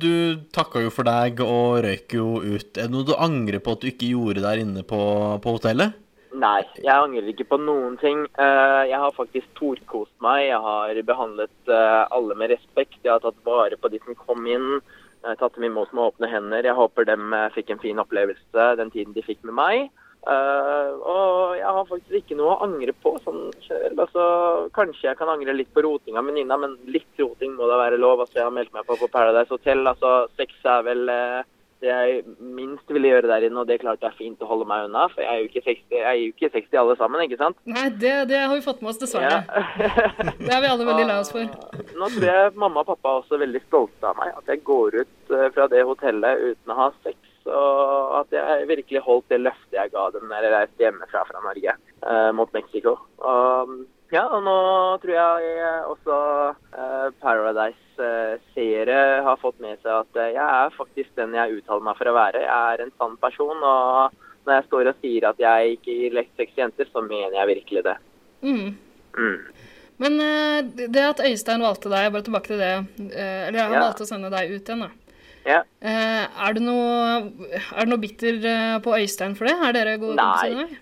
[SPEAKER 4] du takka jo for deg og røyk jo ut. Er det noe du angrer på at du ikke gjorde der inne på, på hotellet?
[SPEAKER 10] Nei, jeg angrer ikke på noen ting. Eh, Jeg har faktisk storkost meg. Jeg har behandlet eh, alle med respekt. Jeg har tatt vare på de som kom inn. Jeg har tatt dem imot med åpne hender. Jeg håper dem eh, fikk en fin opplevelse den tiden de fikk med meg. Eh, og jeg har faktisk ikke noe å angre på. Sånn generelt. altså, kanskje jeg kan angre litt på rotinga med Nina, men litt roting må da være lov. Altså, jeg har meldt meg på på Paradise Hotel. Altså, sex er vel eh, det jeg minst ville gjøre der inne, og det klarte jeg fint å holde meg unna. For jeg er jo ikke 60, jeg er jo ikke 60 alle sammen, ikke sant?
[SPEAKER 3] Nei, det, det har vi fått med oss, dessverre. Det er vi alle veldig lei oss for.
[SPEAKER 10] Nå tror jeg mamma og pappa er også veldig stolte av meg. At jeg går ut eh, fra det hotellet uten å ha sex. Og at jeg virkelig holdt det løftet jeg ga dem da jeg reiste hjemmefra fra Norge eh, mot Mexico. Og, ja, og nå tror jeg eh, også eh, Paradise-seere har fått med seg at eh, jeg er faktisk den jeg uttaler meg for å være. Jeg er en sann person. og når jeg står og sier at jeg ikke gir lekt sex til jenter, så mener jeg virkelig det.
[SPEAKER 3] Mm.
[SPEAKER 10] Mm.
[SPEAKER 3] Men eh, det- det at Øystein valgte deg, bare tilbake til det eh, Eller han
[SPEAKER 10] Ja.
[SPEAKER 3] valgte å sende deg ut igjen, da.
[SPEAKER 10] Ja.
[SPEAKER 3] Eh, Er du noe, er du noe bitter eh, på Øystein for det? Er dere gode
[SPEAKER 10] Nei.
[SPEAKER 3] kompiser? nå?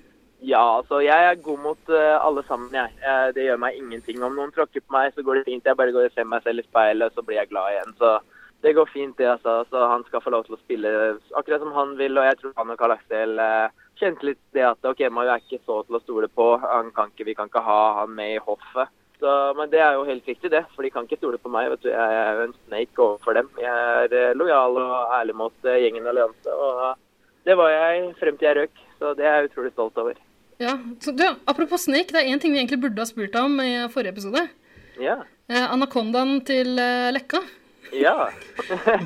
[SPEAKER 10] Ja, altså, jeg er god mot eh, alle sammen, jeg. Eh, det gjør meg ingenting. Om noen tråkker på meg, så går det fint. Jeg bare går og ser meg selv i speilet, og så blir jeg glad igjen. Så det går fint, det, altså. Så han skal få lov til å spille akkurat som han vil. Og jeg tror han og Karl Aksel eh, kjente litt det at OK, Mayo er ikke så til å stole på. Han kan ikke, vi kan ikke ha han med i hoffet. Så, men det er jo helt riktig, det. For de kan ikke stole på meg. vet du. Jeg er jo en snake overfor dem. Jeg er eh, lojal og ærlig mot eh, gjengen Allianse. Og eh, det var jeg frem til jeg røk. Så det er jeg utrolig stolt over.
[SPEAKER 3] Ja. Så, du, apropos Snake, det er én ting vi egentlig burde ha spurt deg om i forrige episode.
[SPEAKER 10] Ja.
[SPEAKER 3] Eh, anakondaen til eh, Lekka.
[SPEAKER 10] Ja.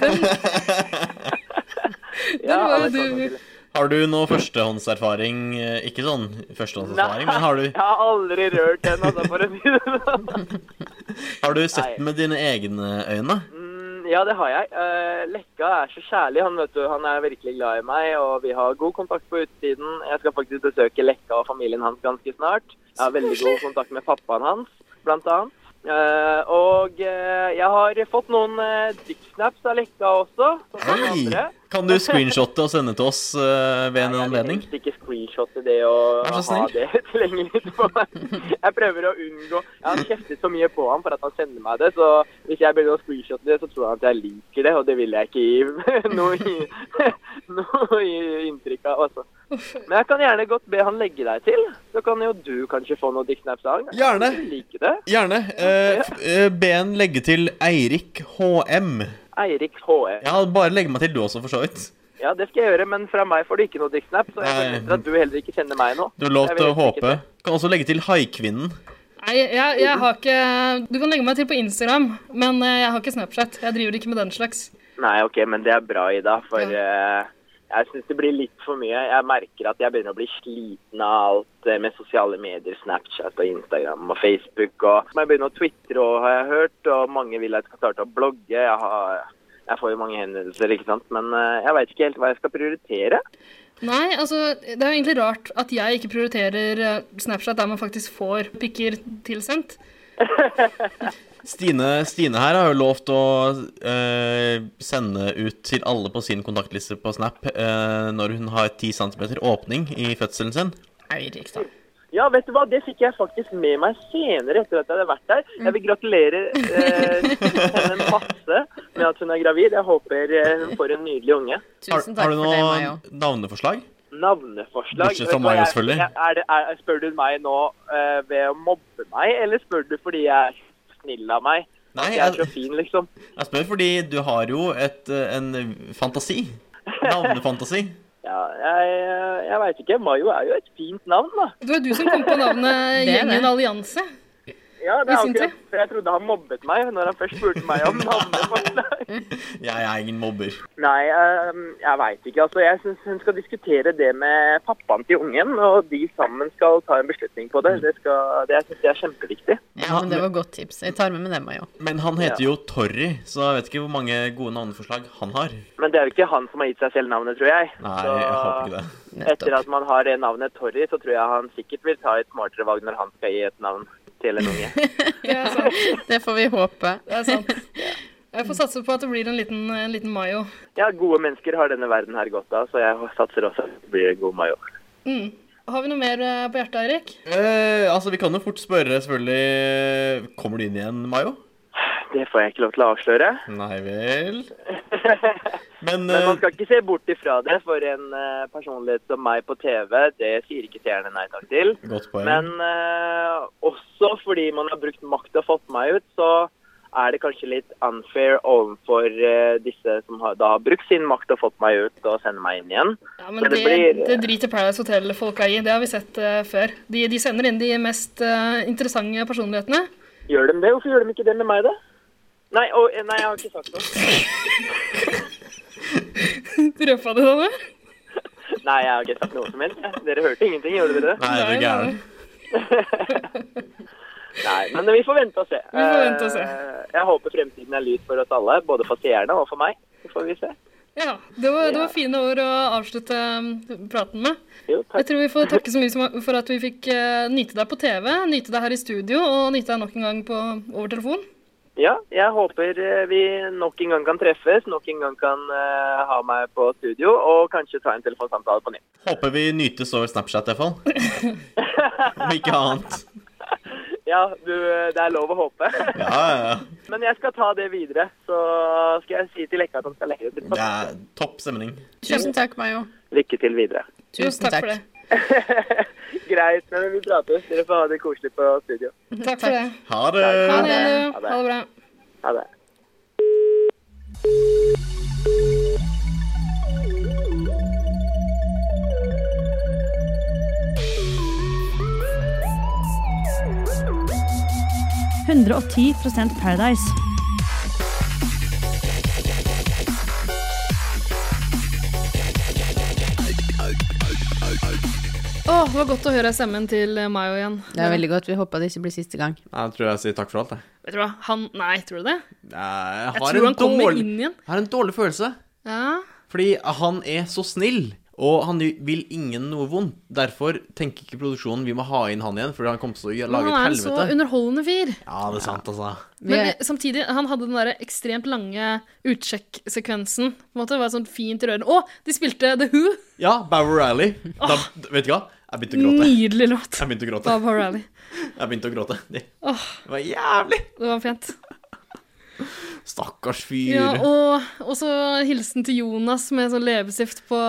[SPEAKER 3] Den var jo
[SPEAKER 10] anakondaen
[SPEAKER 3] du
[SPEAKER 4] Har du noe førstehåndserfaring eh, Ikke sånn førstehåndserfaring, men har
[SPEAKER 10] jeg
[SPEAKER 4] du,
[SPEAKER 10] har aldri rørt den, altså, for å si det sånn.
[SPEAKER 4] har du sett med dine egne øyne?
[SPEAKER 10] Mm, Ja, det har jeg. Eh, Lekka er så kjærlig. Han vet du, han er virkelig glad i meg, og vi har god kontakt på utsiden. Jeg skal faktisk besøke Lekka og familien hans ganske snart. Jeg har veldig god kontakt med pappaen hans, blant annet. Eh, og eh, jeg har fått noen uh, dicksnaps av Lekka også. som mange
[SPEAKER 4] Hei!
[SPEAKER 10] andre.
[SPEAKER 4] Kan du screenshotte og sende til oss eh, ved en anledning?
[SPEAKER 10] helst ikke screenshotte det og
[SPEAKER 4] Vær så
[SPEAKER 10] ha
[SPEAKER 4] snill.
[SPEAKER 10] det tilgjengelig for meg. Jeg prøver å unngå Jeg har kjeftet så mye på ham for at han sender meg det, så hvis jeg begynner å screenshotte det, så tror han at jeg liker det, og det vil jeg ikke gi noe, i- noe i- inntrykk av. Altså. Men jeg kan gjerne godt be han legge deg til. Så kan jo du kanskje få noe dicksnaps av han.
[SPEAKER 4] Gjerne.
[SPEAKER 10] Du liker det.
[SPEAKER 4] Gjerne. Eh, f- eh, be en legge til Eirik HM.
[SPEAKER 10] Eirik HE.
[SPEAKER 4] Ja, bare legg meg til du også, for så vidt.
[SPEAKER 10] Ja, det skal jeg gjøre, men fra meg får du ikke noe dicksnap, så jeg
[SPEAKER 4] Nei.
[SPEAKER 10] forventer at du heller ikke kjenner meg nå.
[SPEAKER 4] Du har lov
[SPEAKER 10] Jeg vil
[SPEAKER 4] til å
[SPEAKER 10] helst ikke
[SPEAKER 4] håpe. Kan også legge til Haikvinnen.
[SPEAKER 3] Nei, jeg, jeg har ikke Du kan legge meg til på Instagram, men eh, jeg har ikke Snapchat. Jeg driver ikke med den slags.
[SPEAKER 10] Nei, ok, men det er bra, Ida, for eh, jeg syns det blir litt for mye. Jeg merker at jeg begynner å bli sliten av alt eh, med sosiale medier, Snapchat og Instagram og Facebook. Og så må jeg begynne å twitre òg, har jeg hørt, og mange vil at jeg skal starte å blogge. Jeg, har, jeg får jo mange henvendelser, ikke sant, men eh, jeg veit ikke helt hva jeg skal prioritere.
[SPEAKER 3] Nei, altså, det er jo egentlig rart at jeg ikke prioriterer eh, Snapchat der man faktisk får pikker tilsendt.
[SPEAKER 4] Stine, Stine her har jo lovt å eh, sende ut til alle på sin kontaktliste på Snap eh, når hun har 10 cm åpning i fødselen sin.
[SPEAKER 3] Eirik, da.
[SPEAKER 10] Ja, vet du hva, det fikk jeg faktisk med meg senere etter at jeg hadde vært der. Jeg vil gratulere eh, henne masse med at hun er gravid. Jeg håper eh, hun får en nydelig unge.
[SPEAKER 4] Har, har du noe navneforslag?
[SPEAKER 10] navneforslag.
[SPEAKER 4] Bortsett
[SPEAKER 10] Vet
[SPEAKER 4] fra
[SPEAKER 10] du hva,
[SPEAKER 4] meg,
[SPEAKER 10] jeg-
[SPEAKER 4] selvfølgelig.
[SPEAKER 10] jeg- Er det, er, spør du meg nå eh, ved å mobbe meg, eller spør du fordi jeg er snill av meg?
[SPEAKER 4] Nei,
[SPEAKER 10] At jeg er
[SPEAKER 4] jeg-
[SPEAKER 10] så fin, liksom.
[SPEAKER 4] Jeg spør fordi du har jo et, eh, en fantasi. Navnefantasi.
[SPEAKER 10] Ja, jeg, jeg veit ikke. Mayo er jo et fint navn, da.
[SPEAKER 3] Det var du som kom på navnet
[SPEAKER 10] Det er det.
[SPEAKER 3] Gjengen Allianse.
[SPEAKER 10] Ja,
[SPEAKER 3] I
[SPEAKER 10] det er
[SPEAKER 3] sin
[SPEAKER 10] akkurat. For jeg trodde han mobbet meg når han først spurte meg om navneforslag.
[SPEAKER 4] Jeg er ingen mobber.
[SPEAKER 10] Nei, eh, jeg veit ikke. Altså, jeg syns hun skal diskutere det med pappaen til ungen, og de sammen skal ta en beslutning på
[SPEAKER 4] Mm.
[SPEAKER 10] det. Det, skal, det jeg syns jeg er kjempeviktig.
[SPEAKER 1] Ja, men det var et godt tips. Jeg tar med meg det, Mayo.
[SPEAKER 4] Men han heter
[SPEAKER 10] Ja.
[SPEAKER 4] jo Torry, så jeg vet ikke hvor mange gode navneforslag han har.
[SPEAKER 10] Men det er jo ikke han som har gitt seg selv navnet, tror jeg.
[SPEAKER 4] Nei, jeg håper ikke det.
[SPEAKER 10] Etter at man har det navnet Torry, så tror jeg han sikkert vil ta et smartere valg når han skal gi et navn til en unge.
[SPEAKER 1] Det får vi håpe.
[SPEAKER 3] Det er sant. Jeg
[SPEAKER 10] Mm.
[SPEAKER 3] får satse på at det blir en liten, en liten Mayo.
[SPEAKER 10] Ja, gode mennesker har denne verden her godt av, så jeg satser også at det blir en god major.
[SPEAKER 3] Mm. Har vi noe mer eh, på hjertet, Eirik?
[SPEAKER 4] Eh, altså, vi kan jo fort spørre, selvfølgelig Kommer du inn igjen, Mayo?
[SPEAKER 10] Det får jeg ikke lov til å avsløre.
[SPEAKER 4] Nei vel. Men, eh,
[SPEAKER 10] Men man skal ikke se bort ifra det, for en eh, personlighet som meg på TV, det sier ikke seerne nei takk til.
[SPEAKER 4] Godt poeng.
[SPEAKER 10] Men eh, også fordi man har brukt makt og fått meg ut, så er det kanskje litt unfair overfor eh, disse som har, da har brukt sin makt og fått meg ut og sender meg inn igjen.
[SPEAKER 3] Ja, men
[SPEAKER 10] Så
[SPEAKER 3] det, eh,
[SPEAKER 10] det blir-
[SPEAKER 3] det driter Paradise Hotel-folka i. Det har vi sett eh, før. De, de sender inn de mest eh, interessante personlighetene.
[SPEAKER 10] Gjør de det? Hvorfor gjør de ikke det med meg, da? Nei, å, eh, nei jeg har ikke sagt noe.
[SPEAKER 3] Røpa du denne?
[SPEAKER 10] Nei, jeg har ikke sagt noe som helst. jeg. Dere hørte ingenting, gjorde dere det?
[SPEAKER 4] Nei, er du gæren?
[SPEAKER 10] Nei, men vi får vente og se.
[SPEAKER 3] Vi får vente og se.
[SPEAKER 10] Eh, Jeg håper fremtiden er lys for oss alle, både for seerne og for meg. Så får vi se.
[SPEAKER 3] Ja, det var, det var fine ord å avslutte um, praten med.
[SPEAKER 10] Jo,
[SPEAKER 3] Jeg tror vi får takke så mye som- for at vi fikk eh, nyte deg på TV, nyte deg her i studio og nyte deg nok en gang på, over telefon.
[SPEAKER 10] Ja, jeg håper eh, vi nok en gang kan treffes, nok en gang kan eh, ha meg på studio, og kanskje ta en telefonsamtale på nytt.
[SPEAKER 4] Håper vi nytes over Snapchat, i hvert fall. Om ikke annet.
[SPEAKER 10] Ja, du, eh, det er lov å håpe.
[SPEAKER 4] Ja, ja, ja.
[SPEAKER 10] Men jeg skal ta det videre. Så skal jeg si til Lekka at han skal legge det
[SPEAKER 4] Det er topp stemning.
[SPEAKER 1] Tusen takk, Mayo.
[SPEAKER 10] Lykke til videre.
[SPEAKER 1] Tusen takk for det.
[SPEAKER 10] ut. Greit, men vi prates. Dere får ha det koselig på studio.
[SPEAKER 3] Takk for det.
[SPEAKER 4] Ha det.
[SPEAKER 3] Ha det. Ha det bra.
[SPEAKER 10] Ha det.
[SPEAKER 12] Paradise.
[SPEAKER 3] Åh, det var godt å høre stemmen til eh, Mayo igjen.
[SPEAKER 1] Det er veldig godt. Vi håper det ikke blir siste gang.
[SPEAKER 4] Jeg tror jeg sier takk for alt, jeg.
[SPEAKER 3] Vet du hva, han Nei, tror du det?
[SPEAKER 4] Jeg, har
[SPEAKER 3] Jeg tror
[SPEAKER 4] en
[SPEAKER 3] han kommer
[SPEAKER 4] dårlig-
[SPEAKER 3] inn igjen.
[SPEAKER 4] Jeg har en dårlig følelse.
[SPEAKER 3] Ja.
[SPEAKER 4] Fordi han er så snill, og han vil ingen noe vondt. Derfor tenker ikke produksjonen vi må ha inn han igjen, fordi han kommer til å
[SPEAKER 3] Men
[SPEAKER 4] lage
[SPEAKER 3] han
[SPEAKER 4] et
[SPEAKER 3] er en så
[SPEAKER 4] helvete.
[SPEAKER 3] underholdende fyr.
[SPEAKER 4] Ja, det er sant, altså.
[SPEAKER 3] Men eh, samtidig, han hadde den der ekstremt lange utsjekksekvensen. På en måte, det var sånn fint rørende. Å, de spilte The Who!
[SPEAKER 4] Ja, Bower Rally. Da, vet du hva? Jeg begynte å gråte.
[SPEAKER 3] Nydelig låt.
[SPEAKER 4] Jeg begynte å gråte.
[SPEAKER 3] Bob O'Reilly.
[SPEAKER 4] Jeg begynte å gråte. Det
[SPEAKER 3] Åh,
[SPEAKER 4] det var jævlig!
[SPEAKER 3] det var fint.
[SPEAKER 4] Stakkars fyr.
[SPEAKER 3] Ja, og, og så hilsen til Jonas med sånn leppestift på,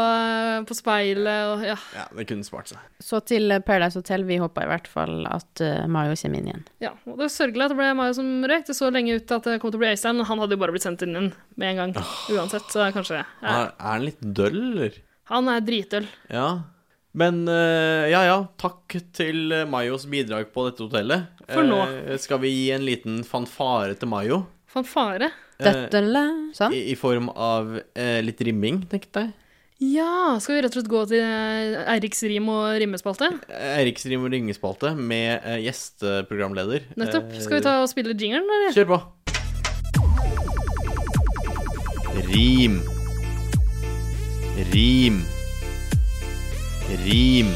[SPEAKER 3] på speilet og ja.
[SPEAKER 4] Ja, det kunne spart seg.
[SPEAKER 1] Så til eh, Paradise Hotel. Vi håper i hvert fall at eh, Mayo kommer inn igjen.
[SPEAKER 3] ja. Og det var sørgelig at det ble Mayo som røyk. Det så lenge ut til at det kom til å bli Øystein, men han hadde jo bare blitt sendt inn igjen med en gang. Uansett, så kanskje ja.
[SPEAKER 4] Er, er han litt døll, eller?
[SPEAKER 3] Han er dritøl.
[SPEAKER 4] Ja. Men eh, ja, ja. Takk til eh, Mayos bidrag på dette hotellet.
[SPEAKER 3] For nå.
[SPEAKER 4] Eh, skal vi gi en liten fanfare til Mayo?
[SPEAKER 3] Fanfare.
[SPEAKER 4] Eh,
[SPEAKER 1] sånn?
[SPEAKER 4] I, I form av eh, litt rimming, tenkte jeg.
[SPEAKER 3] Ja, skal vi rett og slett gå til eh, Eiriks rim og rimmespalte?
[SPEAKER 4] Eriks rim- og ringespalte med eh, gjesteprogramleder.
[SPEAKER 3] Nettopp.
[SPEAKER 4] Eh,
[SPEAKER 3] Skal vi ta og spille jingeren, eller?
[SPEAKER 4] Kjør på. Rim. Rim. Rim.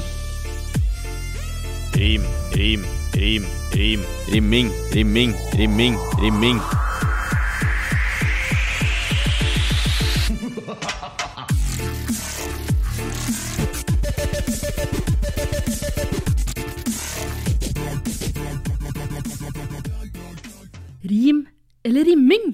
[SPEAKER 4] Rim, rim, rim, rim. Rimming, rimming, rimming, rimming.
[SPEAKER 12] Rim eller rimming?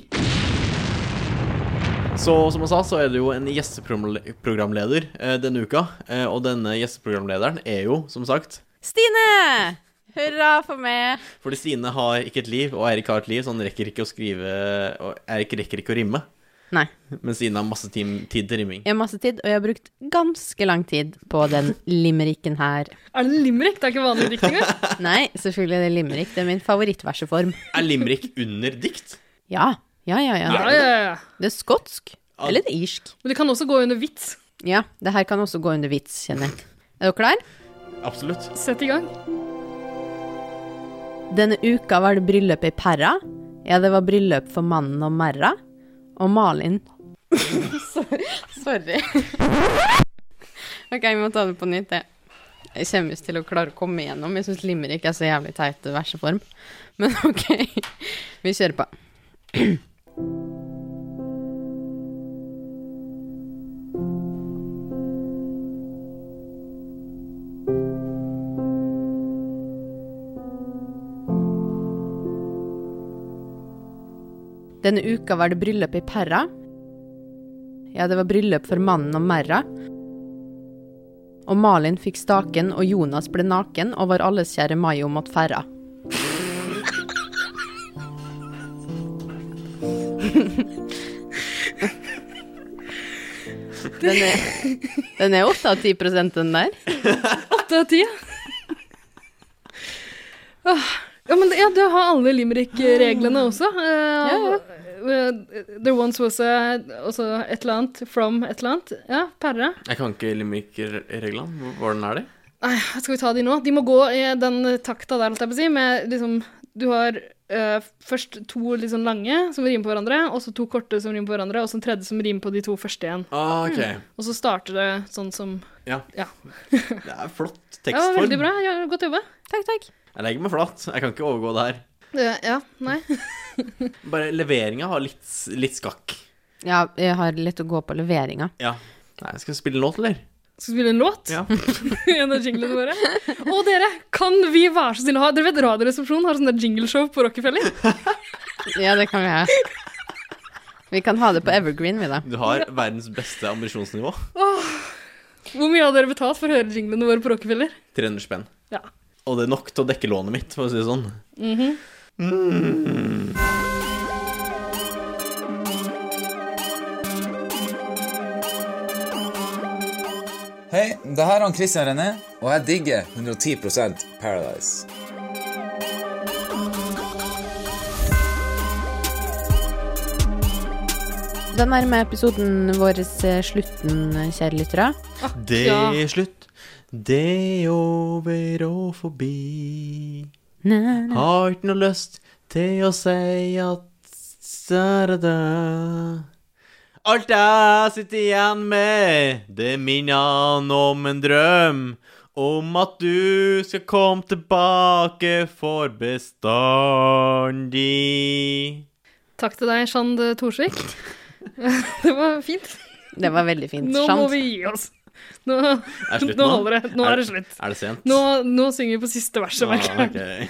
[SPEAKER 4] Så som jeg sa, så er det jo en gjesteprogramleder eh, denne uka. Eh, og denne gjesteprogramlederen er jo, som sagt
[SPEAKER 1] Stine! Hurra for meg!
[SPEAKER 4] Fordi Stine har ikke et liv, og Eirik har et liv, så han rekker ikke å skrive Og Eirik rekker ikke å rimme.
[SPEAKER 1] Nei.
[SPEAKER 4] Men Stine har masse tim- tid til rimming.
[SPEAKER 1] Jeg har masse tid, og jeg har brukt ganske lang tid på den limericken her.
[SPEAKER 3] Er det limerick? Det er ikke vanlig dikt engang.
[SPEAKER 1] Nei, selvfølgelig er det limerick. Det er min favorittverseform.
[SPEAKER 4] Er limerick under dikt?
[SPEAKER 1] Ja. Ja, ja, ja.
[SPEAKER 4] Ja, ja,
[SPEAKER 1] Det er skotsk. Eller det er irsk.
[SPEAKER 3] Men det kan også gå under vits.
[SPEAKER 1] Ja, det her kan også gå under vits, kjenner jeg. Er dere klar?
[SPEAKER 4] Absolutt.
[SPEAKER 3] Sett i gang.
[SPEAKER 1] Denne uka var det bryllup i Perra. Ja, det var bryllup for mannen og merra. Og Malin Sorry. Ok, vi må ta det på nytt, jeg. Jeg kommer ikke til å klare å komme igjennom. Jeg syns limerick er så jævlig teit verseform. Men ok, vi kjører på. Denne uka var det bryllup i Perra. Ja, det var bryllup for mannen og merra. Og Malin fikk staken, og Jonas ble naken, og vår alles kjære Mayo måtte ferra. Den er, den er 8 av 10 den der.
[SPEAKER 3] Åtte av ti. Åh. Ja, men det- ja, du har alle limerick-reglene også. Eh, eh, There once was a også et eller annet from et eller annet. Ja, Perra.
[SPEAKER 4] Jeg kan ikke limerick-reglene. Hvordan er de?
[SPEAKER 3] Nei, skal vi ta de nå? De må gå i den takta der, holdt jeg på å si, med liksom Du har eh, først to litt sånn lange som rimer på hverandre, og så to korte som rimer på hverandre, og så en tredje som rimer på de to første igjen.
[SPEAKER 4] Ah, ok.
[SPEAKER 3] Mm. Og så starter det sånn som
[SPEAKER 4] Ja.
[SPEAKER 3] Ja.
[SPEAKER 4] Det er flott
[SPEAKER 3] ja
[SPEAKER 4] tekstform.
[SPEAKER 3] veldig bra. Ja, godt jobba.
[SPEAKER 1] Takk, takk.
[SPEAKER 4] Jeg legger meg flat. Jeg kan ikke overgå det her.
[SPEAKER 3] Eh, ja, nei.
[SPEAKER 4] Bare leveringa har litt, litt skakk.
[SPEAKER 1] Ja, jeg har litt å gå på leveringa.
[SPEAKER 4] Ja. Nei, skal vi spille en låt, eller?
[SPEAKER 3] Skal vi spille en låt?
[SPEAKER 4] Ja.
[SPEAKER 3] en av jinglene våre. Og dere, kan vi være så snille å ha Dere vet Radioresepsjonen har sånn der jingleshow på Rockefeller?
[SPEAKER 1] Ja, det kan vi ha. Vi kan ha det på Evergreen, vi, da.
[SPEAKER 4] Du har verdens beste ambisjonsnivå.
[SPEAKER 3] Åh, hvor mye har dere betalt for å høre jinglene våre på Rockefeller?
[SPEAKER 4] 300 spenn.
[SPEAKER 3] Ja.
[SPEAKER 4] Og det er nok til å dekke lånet mitt, for å si det sånn.
[SPEAKER 3] Mhm.
[SPEAKER 4] Mm.
[SPEAKER 13] Hei, det her er han Christian René, og jeg digger 110 Paradise.
[SPEAKER 1] Da nærmer episoden vår eh, slutten, kjære lyttere.
[SPEAKER 4] Det er slutt. Det er over og forbi. Har ikke noe lyst til å si at Da-da-da. Alt jeg sitter igjen med, det minnene om en drøm. Om at du skal komme tilbake for bestandig.
[SPEAKER 3] Takk til deg, Sjand Torsvik. det var fint.
[SPEAKER 1] Det var veldig fint.
[SPEAKER 3] Nå må
[SPEAKER 1] Sant?
[SPEAKER 3] vi gi oss. Nå,
[SPEAKER 4] Er det slutt
[SPEAKER 3] nå
[SPEAKER 4] nå?
[SPEAKER 3] holder det. Nå
[SPEAKER 4] Er-
[SPEAKER 3] er det slutt.
[SPEAKER 4] er det sent? Ah,
[SPEAKER 3] Nå, nå synger vi på siste verset, merker jeg.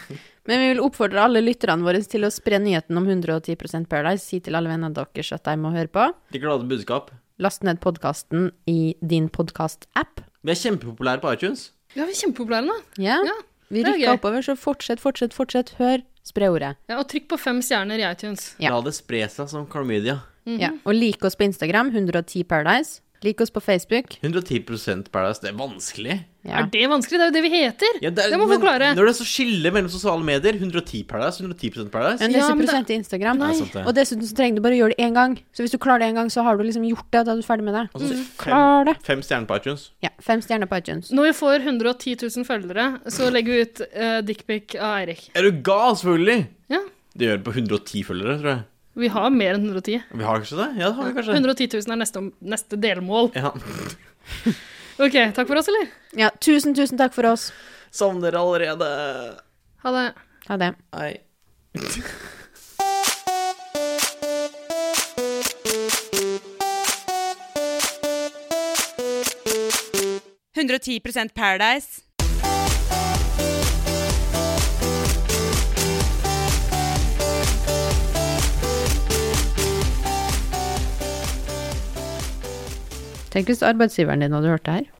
[SPEAKER 1] Men vi vil oppfordre alle lytterne våre til å spre nyheten om 110 Paradise. Si til alle venner deres at de må høre på.
[SPEAKER 4] De glade budskap.
[SPEAKER 1] Last ned podkasten i din podkast-app.
[SPEAKER 4] Vi er kjempepopulære på iTunes.
[SPEAKER 3] Ja, vi er kjempepopulære nå.
[SPEAKER 1] Ja. Vi
[SPEAKER 3] det er
[SPEAKER 1] rykker
[SPEAKER 3] gøy.
[SPEAKER 1] oppover, så fortsett, fortsett, fortsett. Hør, spre ordet.
[SPEAKER 3] Ja, og trykk på fem stjerner i iTunes.
[SPEAKER 4] La det spre seg som klamydia.
[SPEAKER 3] Mhm.
[SPEAKER 1] ja. Og lik oss på Instagram, 110 Paradise. Lik oss på Facebook.
[SPEAKER 4] 110 Paradise, det er vanskelig.
[SPEAKER 1] Ja.
[SPEAKER 3] Er det vanskelig? Det er jo det vi heter!
[SPEAKER 4] Ja,
[SPEAKER 3] det, må
[SPEAKER 4] men
[SPEAKER 3] folk klare.
[SPEAKER 4] Når det er så skille mellom sosiale medier 110 Paradise, 110 Paradise
[SPEAKER 1] Men det er 10 i Instagram.
[SPEAKER 4] Nei. Ja, sant det.
[SPEAKER 1] Og dessuten så trenger du bare å gjøre det én gang. Så hvis du klarer det én gang, så har du liksom gjort det, og da er du ferdig med det.
[SPEAKER 4] Og så
[SPEAKER 1] Mm. Klar
[SPEAKER 4] fem,
[SPEAKER 1] det.
[SPEAKER 4] fem stjerner på iTunes.
[SPEAKER 1] Ja, fem stjerner på iTunes.
[SPEAKER 3] Når vi får 110 000 følgere, så legger vi ut uh, dickpic av Eirik.
[SPEAKER 4] Er du gal, selvfølgelig?
[SPEAKER 3] Ja.
[SPEAKER 4] Det gjør det på 110 følgere, tror jeg.
[SPEAKER 3] Vi har mer enn 110.
[SPEAKER 4] Vi har kanskje det? Ja, det har vi kanskje.
[SPEAKER 3] 110 000 er neste, om- neste delmål.
[SPEAKER 4] Ja.
[SPEAKER 3] OK, takk for oss, eller?
[SPEAKER 1] Ja, tusen, tusen takk for oss.
[SPEAKER 4] Savner allerede.
[SPEAKER 3] Ha det.
[SPEAKER 1] Ha det.
[SPEAKER 4] Nei.
[SPEAKER 2] Paradise.
[SPEAKER 1] Tenk hvis arbeidsgiveren din hadde hørt det her.